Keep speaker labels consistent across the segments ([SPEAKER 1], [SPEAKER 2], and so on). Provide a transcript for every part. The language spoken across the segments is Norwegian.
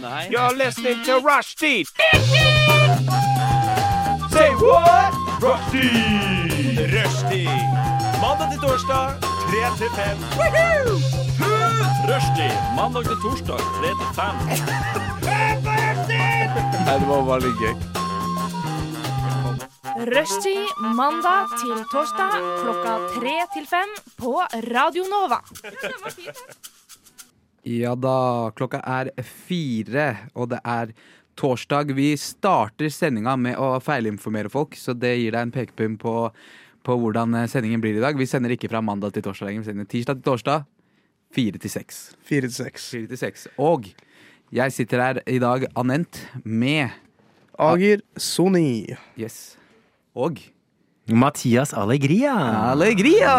[SPEAKER 1] Nei.
[SPEAKER 2] You're listening to Rushdie. Say what? Rushdie. Rushdie. Mandag til torsdag, 3 til 5. Rushdie. Mandag til torsdag, 3 til 5.
[SPEAKER 3] Nei, det var veldig gøy.
[SPEAKER 4] Rushtid mandag til torsdag klokka tre til fem på Radio Nova.
[SPEAKER 3] Ja da, klokka er fire, og det er torsdag. Vi starter sendinga med å feilinformere folk, så det gir deg en pekepinn på, på hvordan eh, sendingen blir i dag. Vi sender ikke fra mandag til torsdag lenger, vi sender tirsdag til torsdag. Fire til seks.
[SPEAKER 5] Fire til seks.
[SPEAKER 3] Fire til seks. Og jeg sitter her i dag, Anent, med
[SPEAKER 5] Ager Soni.
[SPEAKER 3] Yes. Og
[SPEAKER 6] Mathias Allegria.
[SPEAKER 3] Allegria!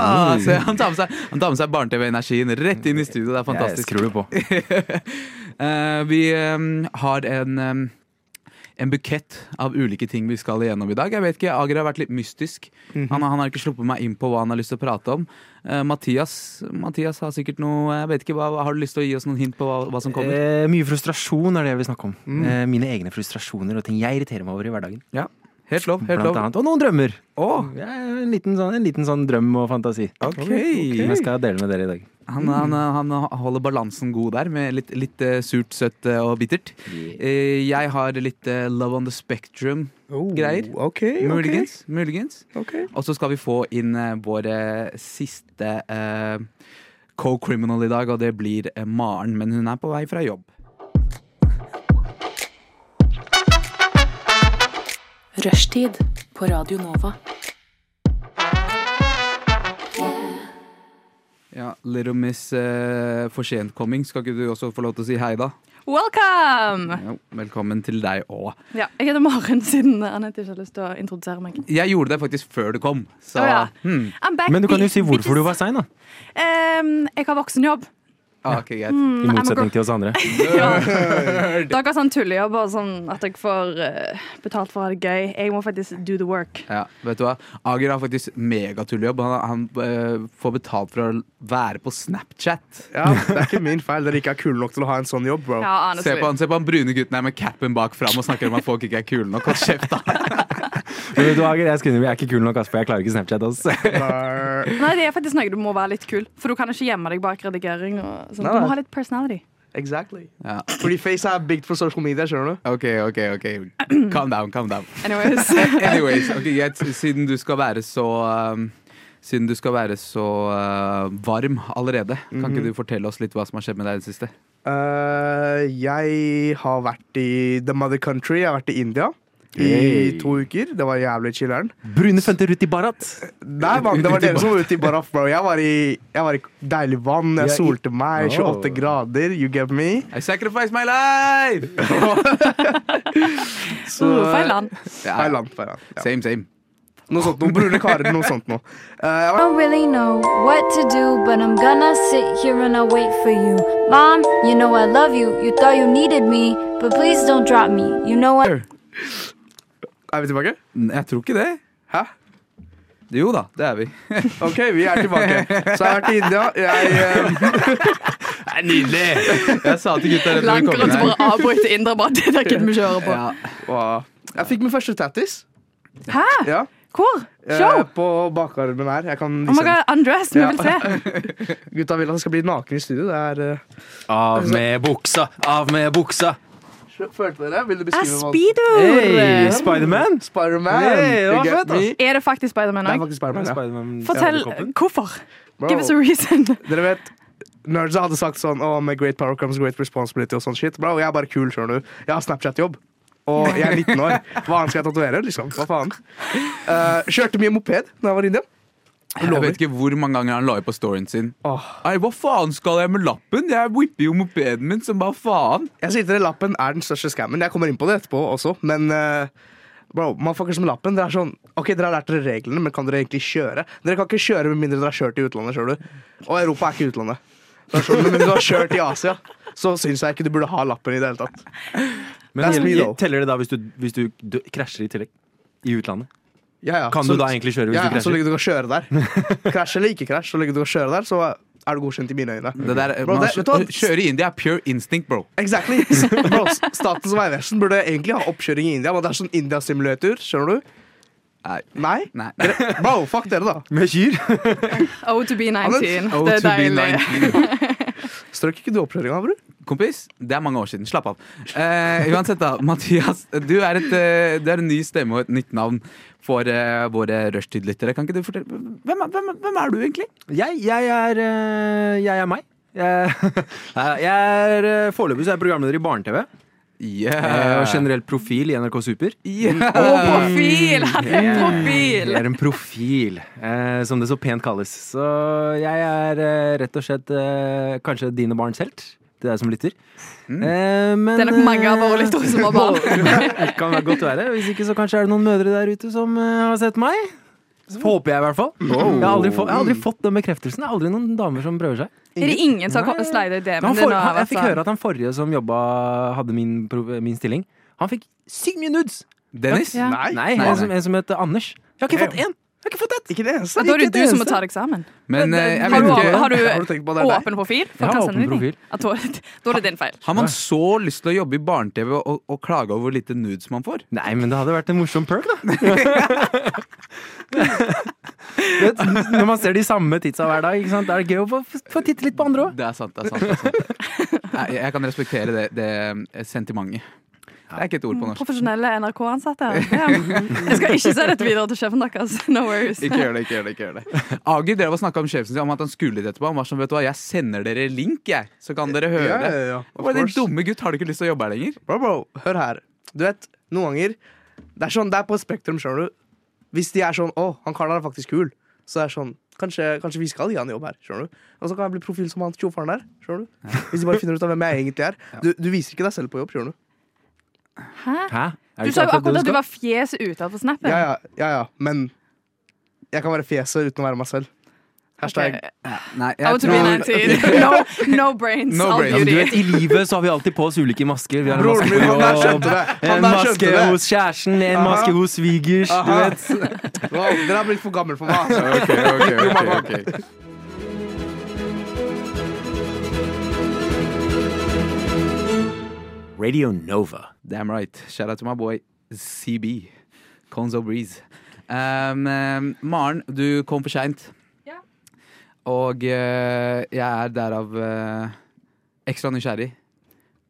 [SPEAKER 3] Så han tar med seg, han tar med seg barne-TV-energien rett inn i studio. Det er
[SPEAKER 6] Jeg
[SPEAKER 3] fantastisk.
[SPEAKER 6] skrur det på.
[SPEAKER 3] Eh, vi eh, har en, eh, en bukett av ulike ting vi skal igjennom i dag. Jeg vet ikke, Ager har vært litt mystisk.
[SPEAKER 6] Mhm.
[SPEAKER 3] han, han har ikke sluppet meg inn på hva han har lyst til å prate om. Eh, Mathias, Mathias har sikkert noe jeg vet ikke, hva, Har du lyst til å gi oss noen hint på hva, hva som kommer? Mm.
[SPEAKER 6] Eh, mye frustrasjon er det jeg vil snakke om. Eh, mine egne frustrasjoner og ting jeg irriterer meg over i hverdagen.
[SPEAKER 3] Ja. Helt lov. helt
[SPEAKER 6] Blant
[SPEAKER 3] lov.
[SPEAKER 6] annet. Og noen drømmer.
[SPEAKER 3] Å,
[SPEAKER 6] Ja, en, liten sånn, en liten sånn drøm og fantasi. Som jeg
[SPEAKER 3] ok.
[SPEAKER 6] skal dele med dere i dag.
[SPEAKER 3] Han, han, han holder balansen god der, med litt, litt eh, surt, søtt eh, og bittert. Eh, Jeg har litt eh, Love on the Spectrum-greier.
[SPEAKER 5] Oh, Ok, ok.
[SPEAKER 3] Muligens. muligens.
[SPEAKER 5] ok.
[SPEAKER 3] Og så skal vi få inn eh, vår eh, siste eh, co-criminal i dag, og det blir eh, Maren. Men hun er på vei fra jobb.
[SPEAKER 7] Rushtid på Radio Nova.
[SPEAKER 3] Ja, Little Miss eh, for sentkomming, skal ikke du også få lov til å si hei, da?
[SPEAKER 8] Welcome!
[SPEAKER 3] Jo, velkommen til deg òg.
[SPEAKER 8] Ja, jeg heter Maren, siden Anette ikke har lyst til å introdusere meg.
[SPEAKER 3] Jeg gjorde det faktisk før du kom, så
[SPEAKER 8] Å ja.
[SPEAKER 3] hmm.
[SPEAKER 8] I'm back,
[SPEAKER 6] Men du kan jo
[SPEAKER 8] bitch-
[SPEAKER 6] si hvorfor du var
[SPEAKER 8] bitches.
[SPEAKER 6] sein, da.
[SPEAKER 8] Ehm, jeg har voksenjobb.
[SPEAKER 3] ah, ok, greit.
[SPEAKER 6] I motsetning til oss andre.
[SPEAKER 8] Dere har sånn tullejobber, sånn at jeg får eh, betalt for å ha det gøy. Jeg må faktisk do the work.
[SPEAKER 3] Ja, vet du hva? Ager har faktisk megatullejobb. Han, han eh, får betalt for å være på Snapchat.
[SPEAKER 5] Ja, det er ikke min feil. Dere ikke er kule nok til å ha en sånn jobb, bro.
[SPEAKER 8] Ja,
[SPEAKER 3] Se
[SPEAKER 8] honestly.
[SPEAKER 3] på, han, se på han brune gutten her med capen bak fram og snakker om at folk ikke er kule nok. Hold kjeft, da!
[SPEAKER 6] Men vet du, Ager, jeg, skulle, jeg er ikke kul nok, ass, for jeg klarer ikke Snapchat. Ass.
[SPEAKER 5] Nei,
[SPEAKER 8] Nei, det er faktisk noe du må være litt kul, for du kan ikke gjemme deg bak redigering. Og sånn.
[SPEAKER 5] Nei,
[SPEAKER 8] Du
[SPEAKER 5] nei.
[SPEAKER 8] må ha litt personality.
[SPEAKER 5] Exactly.
[SPEAKER 3] Ja.
[SPEAKER 5] Fordi face er big for social media, skjønner du?
[SPEAKER 3] Ok, ok, ok. Calm down, calm down.
[SPEAKER 8] Anyways.
[SPEAKER 3] Anyways, ok, greit. Siden du skal være så um, Siden du skal være så uh, varm allerede, kan ikke du fortelle oss litt hva som har skjedd med deg i det siste?
[SPEAKER 5] Eh, jeg har vært i the mother country. Jeg har vært i India. I
[SPEAKER 6] Hey.
[SPEAKER 5] to uker. Det var jævlig chiller'n.
[SPEAKER 6] Brune fønte Ruti Barat.
[SPEAKER 5] Nei, mann, det var dere som var ute i Baraf, bro. Jeg var i, jeg var i deilig vann, jeg
[SPEAKER 6] Ja, i-
[SPEAKER 5] solte meg, 28
[SPEAKER 6] Oh.
[SPEAKER 5] grader. You get me?
[SPEAKER 3] I sacrifice my life!
[SPEAKER 5] Så,
[SPEAKER 8] Uh, Feil land.
[SPEAKER 3] Ja,
[SPEAKER 5] Feil land, feil land. Ja.
[SPEAKER 3] Same, same.
[SPEAKER 5] Noe sånt noe. Brune karer, noe sånt noe. Eh, jeg var
[SPEAKER 9] don't really know what to do, but I'm gonna sit here and I'll wait for you. Mom, you know I love you. You thought you needed me, but please don't drop me. You know I.
[SPEAKER 5] Er vi tilbake?
[SPEAKER 3] N- Jeg tror ikke det.
[SPEAKER 5] Hæ?
[SPEAKER 3] Jo da, det er vi.
[SPEAKER 5] OK, vi er tilbake. Så jeg har vært i India. Jeg, eh,
[SPEAKER 3] Jeg sa til gutta rett når vi kom
[SPEAKER 8] Blankere
[SPEAKER 3] inn
[SPEAKER 8] som
[SPEAKER 3] her.
[SPEAKER 8] bare avbryter indre bare. Det er ikke vi kjører på.
[SPEAKER 3] Ja.
[SPEAKER 5] wow. jeg fikk min første tattis.
[SPEAKER 8] Hæ?
[SPEAKER 5] Ja.
[SPEAKER 8] Hvor?
[SPEAKER 5] eh,
[SPEAKER 8] Show?
[SPEAKER 5] På bakarmen her. Jeg kan
[SPEAKER 8] Oh my
[SPEAKER 5] vise den.
[SPEAKER 8] god, undressed, vi
[SPEAKER 5] Ja.
[SPEAKER 8] vil se.
[SPEAKER 5] Gutta vil at han skal bli naken i studio. Det er eh,
[SPEAKER 6] Av med buksa, av med buksa.
[SPEAKER 5] Følte dere? Vil du
[SPEAKER 8] Er
[SPEAKER 5] beskrive hva
[SPEAKER 6] Hey,
[SPEAKER 8] speedoer!
[SPEAKER 6] Spiderman.
[SPEAKER 5] Spiderman!
[SPEAKER 6] Hey, det var
[SPEAKER 5] You get
[SPEAKER 6] fett, ass.
[SPEAKER 5] me?
[SPEAKER 8] Er det faktisk Spiderman
[SPEAKER 5] Det er
[SPEAKER 8] òg?
[SPEAKER 5] faktisk Spiderman, ja.
[SPEAKER 6] Spiderman-
[SPEAKER 8] Fortell
[SPEAKER 6] Ja,
[SPEAKER 8] hvorfor.
[SPEAKER 5] Bro,
[SPEAKER 8] Give us a reason.
[SPEAKER 5] Dere vet, nerds hadde sagt sånn oh, Med great power comes great responsibility og sånn shit. Bro, jeg er bare kul, skjønner du. Jeg har Snapchat-jobb. Og jeg er 19 år. Hva annet skal jeg tatovere? Liksom? Hva faen? Eh, kjørte mye moped da jeg var i India.
[SPEAKER 3] Jeg vet ikke hvor mange ganger han la ut på storyen sin.
[SPEAKER 5] Åh,
[SPEAKER 3] Nei, hva faen skal jeg med lappen? Jeg whipper jo mopeden min som bare faen.
[SPEAKER 5] jeg sier til dere, lappen er den største scammen. Jeg kommer inn på det etterpå også, men eh, Bro, motherfuckers med lappen, dere er sånn Ok, dere har lært dere reglene, men kan dere egentlig kjøre? Dere kan ikke kjøre med mindre dere har kjørt i utlandet, skjønner du. Og Europa er ikke utlandet. Det er sånn, Men mindre du har kjørt i Asia, så syns jeg ikke du burde ha lappen i det hele tatt.
[SPEAKER 6] Men
[SPEAKER 5] That's me, though.
[SPEAKER 6] gjelder- teller det da hvis du, hvis du dø- krasjer i tillegg? I utlandet?
[SPEAKER 5] Ja, ja.
[SPEAKER 6] Kan
[SPEAKER 5] Så-
[SPEAKER 6] du da egentlig kjøre hvis
[SPEAKER 5] ja,
[SPEAKER 6] du
[SPEAKER 5] ja, så
[SPEAKER 6] krasjer?
[SPEAKER 5] lenge du kan kjøre der. Krasj eller ikke krasj, så lenge du kan kjøre der, så er du godkjent i mine øyne.
[SPEAKER 3] Det der,
[SPEAKER 5] Bro,
[SPEAKER 3] man,
[SPEAKER 5] det- vet du hva?
[SPEAKER 3] å kjøre i India er pure instinct, bro.
[SPEAKER 5] Exactly. Bro, Statens vegvesen burde egentlig ha oppkjøring i India, men det er sånn India-simulator. Skjønner du?
[SPEAKER 3] Nei.
[SPEAKER 5] Nei?
[SPEAKER 3] Nei.
[SPEAKER 5] Bro, fuck dere, da.
[SPEAKER 6] Med kyr?
[SPEAKER 8] Oh to be 19.
[SPEAKER 3] Oh,
[SPEAKER 8] det er
[SPEAKER 3] to be
[SPEAKER 8] deilig.
[SPEAKER 3] 19.
[SPEAKER 5] Strøk ikke du oppkjøringa, bror?
[SPEAKER 3] Kompis, det er mange år siden. Slapp av. Eh, uansett, da. Mathias, du er, et, eh, du er en ny stemme og et nytt navn for eh, våre rushtidlyttere. Kan ikke du fortelle hvem, er- hvem, hvem er du egentlig?
[SPEAKER 6] Jeg, jeg, er, eh, jeg er meg. Jeg, jeg er eh, Foreløpig så er jeg programleder i Barne-TV. eh, Og generelt profil i NRK Super.
[SPEAKER 3] Yeah.
[SPEAKER 8] Å, profil! Han er profil!
[SPEAKER 6] Jeg er en profil, eh, som det så pent kalles. Så jeg er eh, rett og slett eh, kanskje dine barns helt. Til deg som lytter. Eh, men,
[SPEAKER 8] Mm.
[SPEAKER 6] eh,
[SPEAKER 8] Det er nok mange av våre lyttere som har barn.
[SPEAKER 6] det kan være godt være. Hvis ikke så kanskje er det noen mødre der ute som eh, har sett meg. Så håper jeg, i hvert fall. Jeg, har aldri fått, jeg har aldri fått den bekreftelsen. Det er aldri noen damer som prøver seg.
[SPEAKER 8] Er det ingen som
[SPEAKER 6] Nei.
[SPEAKER 8] har slidet i
[SPEAKER 6] Han
[SPEAKER 8] DM-en
[SPEAKER 6] for,
[SPEAKER 8] din?
[SPEAKER 6] han, jeg fikk høre at han forrige som jobba, hadde min, pro- min stilling. Han fikk sykt mye nudes!
[SPEAKER 3] Dennis?
[SPEAKER 8] Ja.
[SPEAKER 5] Nei.
[SPEAKER 6] Nei,
[SPEAKER 3] Nei,
[SPEAKER 6] en som, en som het Anders. Jeg har ikke
[SPEAKER 5] Damn.
[SPEAKER 6] fått én! Jeg har ikke fått ett!
[SPEAKER 5] Ikke det eneste.
[SPEAKER 8] Da er det
[SPEAKER 6] Ikke
[SPEAKER 8] du
[SPEAKER 6] det
[SPEAKER 8] som må
[SPEAKER 6] eneste.
[SPEAKER 8] ta deg eksamen.
[SPEAKER 3] Men eh, jeg
[SPEAKER 8] har,
[SPEAKER 3] vet
[SPEAKER 8] du,
[SPEAKER 3] ikke
[SPEAKER 8] har
[SPEAKER 5] Har du
[SPEAKER 8] du
[SPEAKER 5] tenkt på det? Nei.
[SPEAKER 8] åpen profil? For
[SPEAKER 6] Jeg har
[SPEAKER 8] klassen
[SPEAKER 6] åpen
[SPEAKER 8] din?
[SPEAKER 6] profil.
[SPEAKER 8] At Da da er det din feil.
[SPEAKER 3] Har man så lyst til å jobbe i barne-TV og, og klage over hvor lite nudes man får?
[SPEAKER 6] Nei, men det hadde vært en morsom perk, da. Vet, når man ser de samme tidsa hver dag, ikke sant? da er det gøy å få, få titte litt på andre òg.
[SPEAKER 3] Det er sant. det er sant, det er sant. Nei, Jeg kan respektere det, det sentimentet. Det er ikke et ord
[SPEAKER 8] Mm,
[SPEAKER 3] på norsk.
[SPEAKER 8] Profesjonelle NRK-ansatte. Ja. Jeg skal ikke se dette videre til sjefen deres. No worries.
[SPEAKER 3] Ikke gjør det, ikke gjør det. ikke gjør det Ager drev og snakka om sjefen sin om at han skulle litt etterpå. Han var sånn, vet du hva, jeg sender dere link, jeg, så kan dere høre.
[SPEAKER 5] Ja, ja, ja.
[SPEAKER 3] Og bare,
[SPEAKER 5] Of
[SPEAKER 3] Din
[SPEAKER 5] course.
[SPEAKER 3] dumme gutt, har du ikke lyst til å jobbe her lenger?
[SPEAKER 5] Bro, bro, hør her. Du vet, noen ganger Det er sånn, det er på et spektrum, skjønner du. Hvis de er sånn 'Å, han karen er faktisk kul', så er det sånn Kanskje, kanskje vi skal gi han jobb her, skjønner du. Og så kan jeg bli profil som han tjofaren der, skjønner du. Hvis de bare finner ut av hvem jeg egentlig er. Du, du viser ikke deg selv på jobb, skjønner du.
[SPEAKER 8] Hæ?
[SPEAKER 6] Hæ? Er
[SPEAKER 8] Du
[SPEAKER 6] det
[SPEAKER 8] sa jo
[SPEAKER 6] ikke
[SPEAKER 8] akkurat
[SPEAKER 6] det
[SPEAKER 8] at du var fjeset ute på snappen.
[SPEAKER 5] Ja, ja, ja, ja. Men jeg kan være fjeset uten å være meg selv. Hashtag.
[SPEAKER 8] Ok.
[SPEAKER 3] Nei,
[SPEAKER 8] I want to be 19. No, no brains.
[SPEAKER 3] No
[SPEAKER 8] all
[SPEAKER 3] brains.
[SPEAKER 6] Ja, men du
[SPEAKER 8] beauty.
[SPEAKER 6] vet, I livet så har vi alltid på oss ulike masker. Vi har en
[SPEAKER 5] Broren
[SPEAKER 6] maske
[SPEAKER 5] min, han der
[SPEAKER 6] på jobb,
[SPEAKER 5] skjønte det!
[SPEAKER 6] en
[SPEAKER 5] Han der
[SPEAKER 6] maske
[SPEAKER 5] skjønte det!
[SPEAKER 6] hos kjæresten, en maske hos svigers. Du
[SPEAKER 5] Aha.
[SPEAKER 6] vet.
[SPEAKER 5] Wow, dere er blitt for gammel for meg. altså.
[SPEAKER 3] Ok, ok, ok, ok.
[SPEAKER 6] Radio Nova.
[SPEAKER 3] Damn right. Shout out to my boy CB. Conzo Breeze. Um, um, Maren, du kom for seint.
[SPEAKER 8] Ja.
[SPEAKER 3] Og eh, jeg er derav eh, ekstra nysgjerrig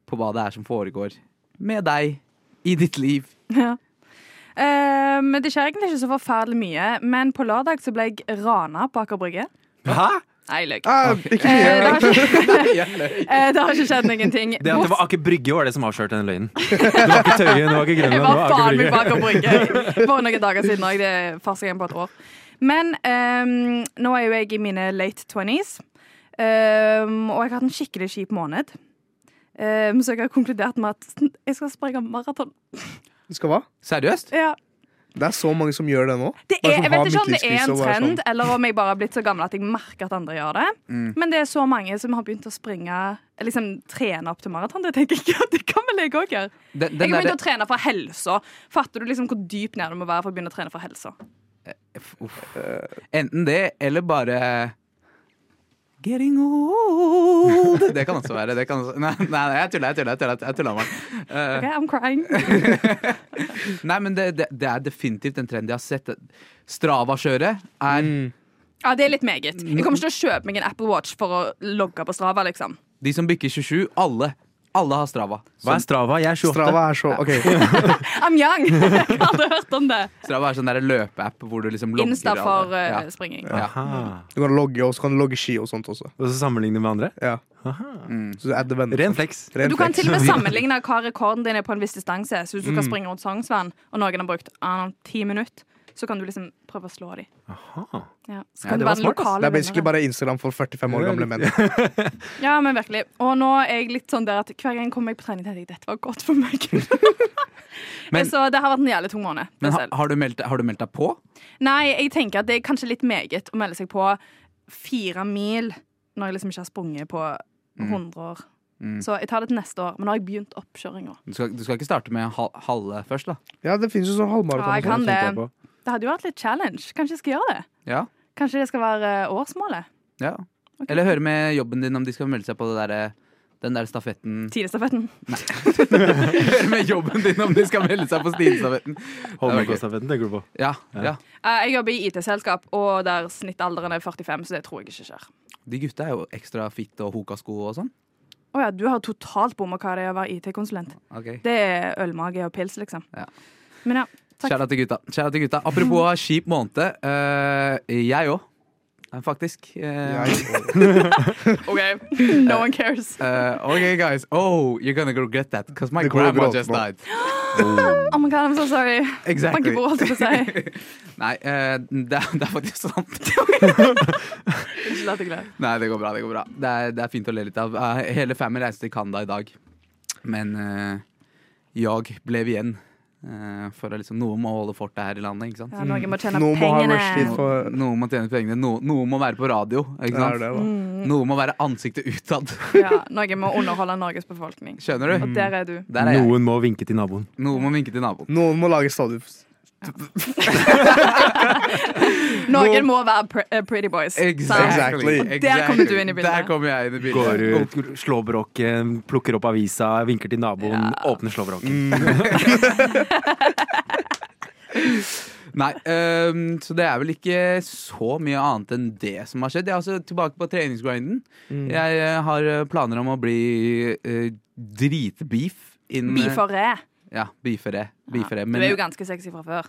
[SPEAKER 3] på hva det er som foregår med deg i ditt liv.
[SPEAKER 8] Ja. Eh, men det skjer egentlig ikke så forferdelig mye. Men på lørdag så ble jeg rana på Aker Brygge.
[SPEAKER 6] Hæ?
[SPEAKER 8] Nei, løk.
[SPEAKER 5] Ah, ikke
[SPEAKER 8] Eh,
[SPEAKER 5] mye.
[SPEAKER 8] det, har ikke, eh, det har ikke skjedd noen ting.
[SPEAKER 6] Det at det var
[SPEAKER 8] Borts-
[SPEAKER 6] Aker Brygge var det som avslørte den løgnen. Det var ikke Tøyen, det var ikke Grønland.
[SPEAKER 8] jeg
[SPEAKER 6] det
[SPEAKER 8] var
[SPEAKER 6] var Aker
[SPEAKER 8] faen meg
[SPEAKER 6] Brygge.
[SPEAKER 8] bak og brygge for noen dager siden òg. Det er første gang på et år. Men ehm, nå er jo jeg i mine late 20s, ehm, og jeg har hatt en skikkelig kjip måned. Ehm, så jeg har konkludert med at sn- jeg skal springe maraton.
[SPEAKER 5] Du skal hva?
[SPEAKER 3] Seriøst?
[SPEAKER 8] Ja.
[SPEAKER 5] Det er så mange som gjør det nå.
[SPEAKER 8] Det
[SPEAKER 5] Bare
[SPEAKER 8] er,
[SPEAKER 5] som
[SPEAKER 8] jeg
[SPEAKER 5] har
[SPEAKER 8] vet ikke om det er
[SPEAKER 5] midtlivskrise
[SPEAKER 8] en
[SPEAKER 5] og bare
[SPEAKER 8] trend,
[SPEAKER 5] sånn. Mm.
[SPEAKER 8] eller om jeg bare har blitt så gammel at jeg merker at andre gjør det. Men det er så mange som har begynt å springe Liksom trene opp til maraton. Det tenker jeg at det kan vel jeg òg gjøre.
[SPEAKER 3] Den,
[SPEAKER 8] Jeg
[SPEAKER 3] den
[SPEAKER 8] har begynt
[SPEAKER 3] der,
[SPEAKER 8] å trene for helsa. Fatter du liksom hvor dypt ned du må være for å begynne å trene for helsa?
[SPEAKER 3] uff. Enten det, eller bare Getting old. Det kan også være. Det kan også, nei, nei, nei, jeg tuller, jeg tuller. Jeg tuller, jeg tuller Maren. Eh,
[SPEAKER 8] Ok, I'm crying.
[SPEAKER 3] Nei, men det, det, det er definitivt en trend jeg har sett. Strava-kjøret er
[SPEAKER 6] Mm.
[SPEAKER 8] Ja, det er litt meget. Jeg kommer ikke til å kjøpe meg en Apple Watch for å logge på Strava, liksom.
[SPEAKER 3] de som bikker 27. Alle. Alle har Strava.
[SPEAKER 6] Hva er Strava? Jeg er 28.
[SPEAKER 5] Strava er så OK.
[SPEAKER 8] I'm young! Jeg har aldri hørt om det.
[SPEAKER 3] Strava er sånn der løpeapp hvor du liksom logger
[SPEAKER 8] Insta for
[SPEAKER 3] alle.
[SPEAKER 8] eh,
[SPEAKER 3] Ja.
[SPEAKER 8] springing.
[SPEAKER 6] Aha.
[SPEAKER 5] Du kan logge, og så kan du logge ski og sånt også.
[SPEAKER 6] Og så sammenligne med andre?
[SPEAKER 5] Ja. Så du adder venner.
[SPEAKER 6] Ren flex.
[SPEAKER 5] Ren
[SPEAKER 8] Du kan
[SPEAKER 5] flex.
[SPEAKER 8] til og med sammenligne hva rekorden din er på en viss distanse. Så hvis du skal springe rundt Sognsvann, og noen har brukt ah, ti minutter, så kan du liksom prøve å slå dem.
[SPEAKER 6] Aha.
[SPEAKER 8] Ja. Så
[SPEAKER 6] Ja,
[SPEAKER 8] kan
[SPEAKER 6] det
[SPEAKER 8] du
[SPEAKER 6] var smart,
[SPEAKER 8] være den
[SPEAKER 6] ass.
[SPEAKER 8] lokale
[SPEAKER 5] Det er basically
[SPEAKER 8] vinneren.
[SPEAKER 5] bare Instagram for 45 år gamle menn.
[SPEAKER 8] Ja, men virkelig. Og nå er jeg litt sånn der at hver gang jeg kommer meg på trening, tenker jeg dette var godt for meg.
[SPEAKER 3] Men-
[SPEAKER 8] så det har vært en jævlig tung måned. det
[SPEAKER 3] Men ha,
[SPEAKER 8] selv.
[SPEAKER 3] har, du meldt, har du meldt deg på?
[SPEAKER 8] Nei, jeg tenker at det er kanskje litt meget å melde seg på fire mil når jeg liksom ikke har sprunget på 100 år. Så jeg tar det til neste år. Men nå har jeg begynt oppkjøringa.
[SPEAKER 3] Du skal, du skal ikke starte med hal- halve først, da?
[SPEAKER 5] Ja, det finnes jo sånn
[SPEAKER 8] Ja, jeg
[SPEAKER 5] halvmaraton.
[SPEAKER 8] kan det.
[SPEAKER 6] tenkte jeg på.
[SPEAKER 8] Det hadde jo vært litt challenge. Kanskje jeg skal gjøre det.
[SPEAKER 3] Ja.
[SPEAKER 8] Kanskje det skal være eh, årsmålet.
[SPEAKER 3] ja. Eller høre med jobben din om de skal melde seg på det der, eh, den der stafetten.
[SPEAKER 8] Tidestafetten.
[SPEAKER 3] Høre med jobben din om de skal melde seg på stilstafetten.
[SPEAKER 6] Holmenkollstafetten tenker du på.
[SPEAKER 3] Ja, ja.
[SPEAKER 8] Eh, Jeg jobber i IT-selskap, og der snittalderen er 45, så det tror jeg ikke skjer.
[SPEAKER 3] De gutta er jo ekstra fitte og hokasko og sånn.
[SPEAKER 8] Å ja, du har totalt bomma hva det er å være IT-konsulent.
[SPEAKER 3] Okay.
[SPEAKER 8] Det er ølmage og pils, liksom.
[SPEAKER 3] Ja.
[SPEAKER 8] Men ja, takk.
[SPEAKER 3] Kjære til gutta. Shout out til gutta. Apropos å ha kjip måned. eh, jeg òg, faktisk. Eh,
[SPEAKER 8] OK, no one cares.
[SPEAKER 3] eh, OK, guys. Oh, you're gonna regret that, because my
[SPEAKER 5] Det kommer
[SPEAKER 3] grandma
[SPEAKER 5] bra
[SPEAKER 3] just
[SPEAKER 5] nå.
[SPEAKER 3] died.
[SPEAKER 8] Oh my god, I'm so sorry.
[SPEAKER 3] Exactly.
[SPEAKER 8] Banker på, holdt jeg på å si.
[SPEAKER 3] Nei, eh, det, er- det er faktisk sant.
[SPEAKER 8] Unnskyld at jeg gled.
[SPEAKER 3] Nei, det går bra. Det går bra Det er, det er fint å le litt av. Eh, hele family reiste til Canada i dag, men eh, jeg ble igjen. eh, for å liksom, noe må holde fortet her i landet, ikke sant?
[SPEAKER 8] Ja, Norge må tjene
[SPEAKER 5] Nå må ha
[SPEAKER 8] pengene.
[SPEAKER 5] rushtid for
[SPEAKER 3] Noe, noe må tjene pengene, noe, noe må være på radio. Mm. Ikke
[SPEAKER 5] Det er
[SPEAKER 3] sant?
[SPEAKER 5] det, da.
[SPEAKER 8] Mm.
[SPEAKER 3] Noe må være ansiktet utad.
[SPEAKER 8] Ja, Norge må underholde Norges befolkning.
[SPEAKER 3] Skjønner du?
[SPEAKER 5] Mm.
[SPEAKER 8] Og der er du.
[SPEAKER 3] Der er jeg.
[SPEAKER 6] Noen må vinke til naboen.
[SPEAKER 3] Noe må vinke til naboen.
[SPEAKER 5] Noen må lage stadig
[SPEAKER 8] Norge må være pre eh, pretty boys. Sant?
[SPEAKER 5] Exactly.
[SPEAKER 8] Og der kommer du inn i bildet.
[SPEAKER 3] Der kommer jeg inn i bildet.
[SPEAKER 6] Går ut, slår bråken, plukker opp avisa, vinker til naboen, åpner slåbråken.
[SPEAKER 3] Nei, øhm, så det er vel ikke så mye annet enn det som har skjedd. Jeg er altså tilbake på treningsgrinden. Jeg eh, har eh, planer om å bli eh, dritbeef. innen- eh,
[SPEAKER 8] Bifore.
[SPEAKER 3] Ja, beefere. beefere.
[SPEAKER 8] Du
[SPEAKER 3] Men
[SPEAKER 8] er jo ganske sexy fra før.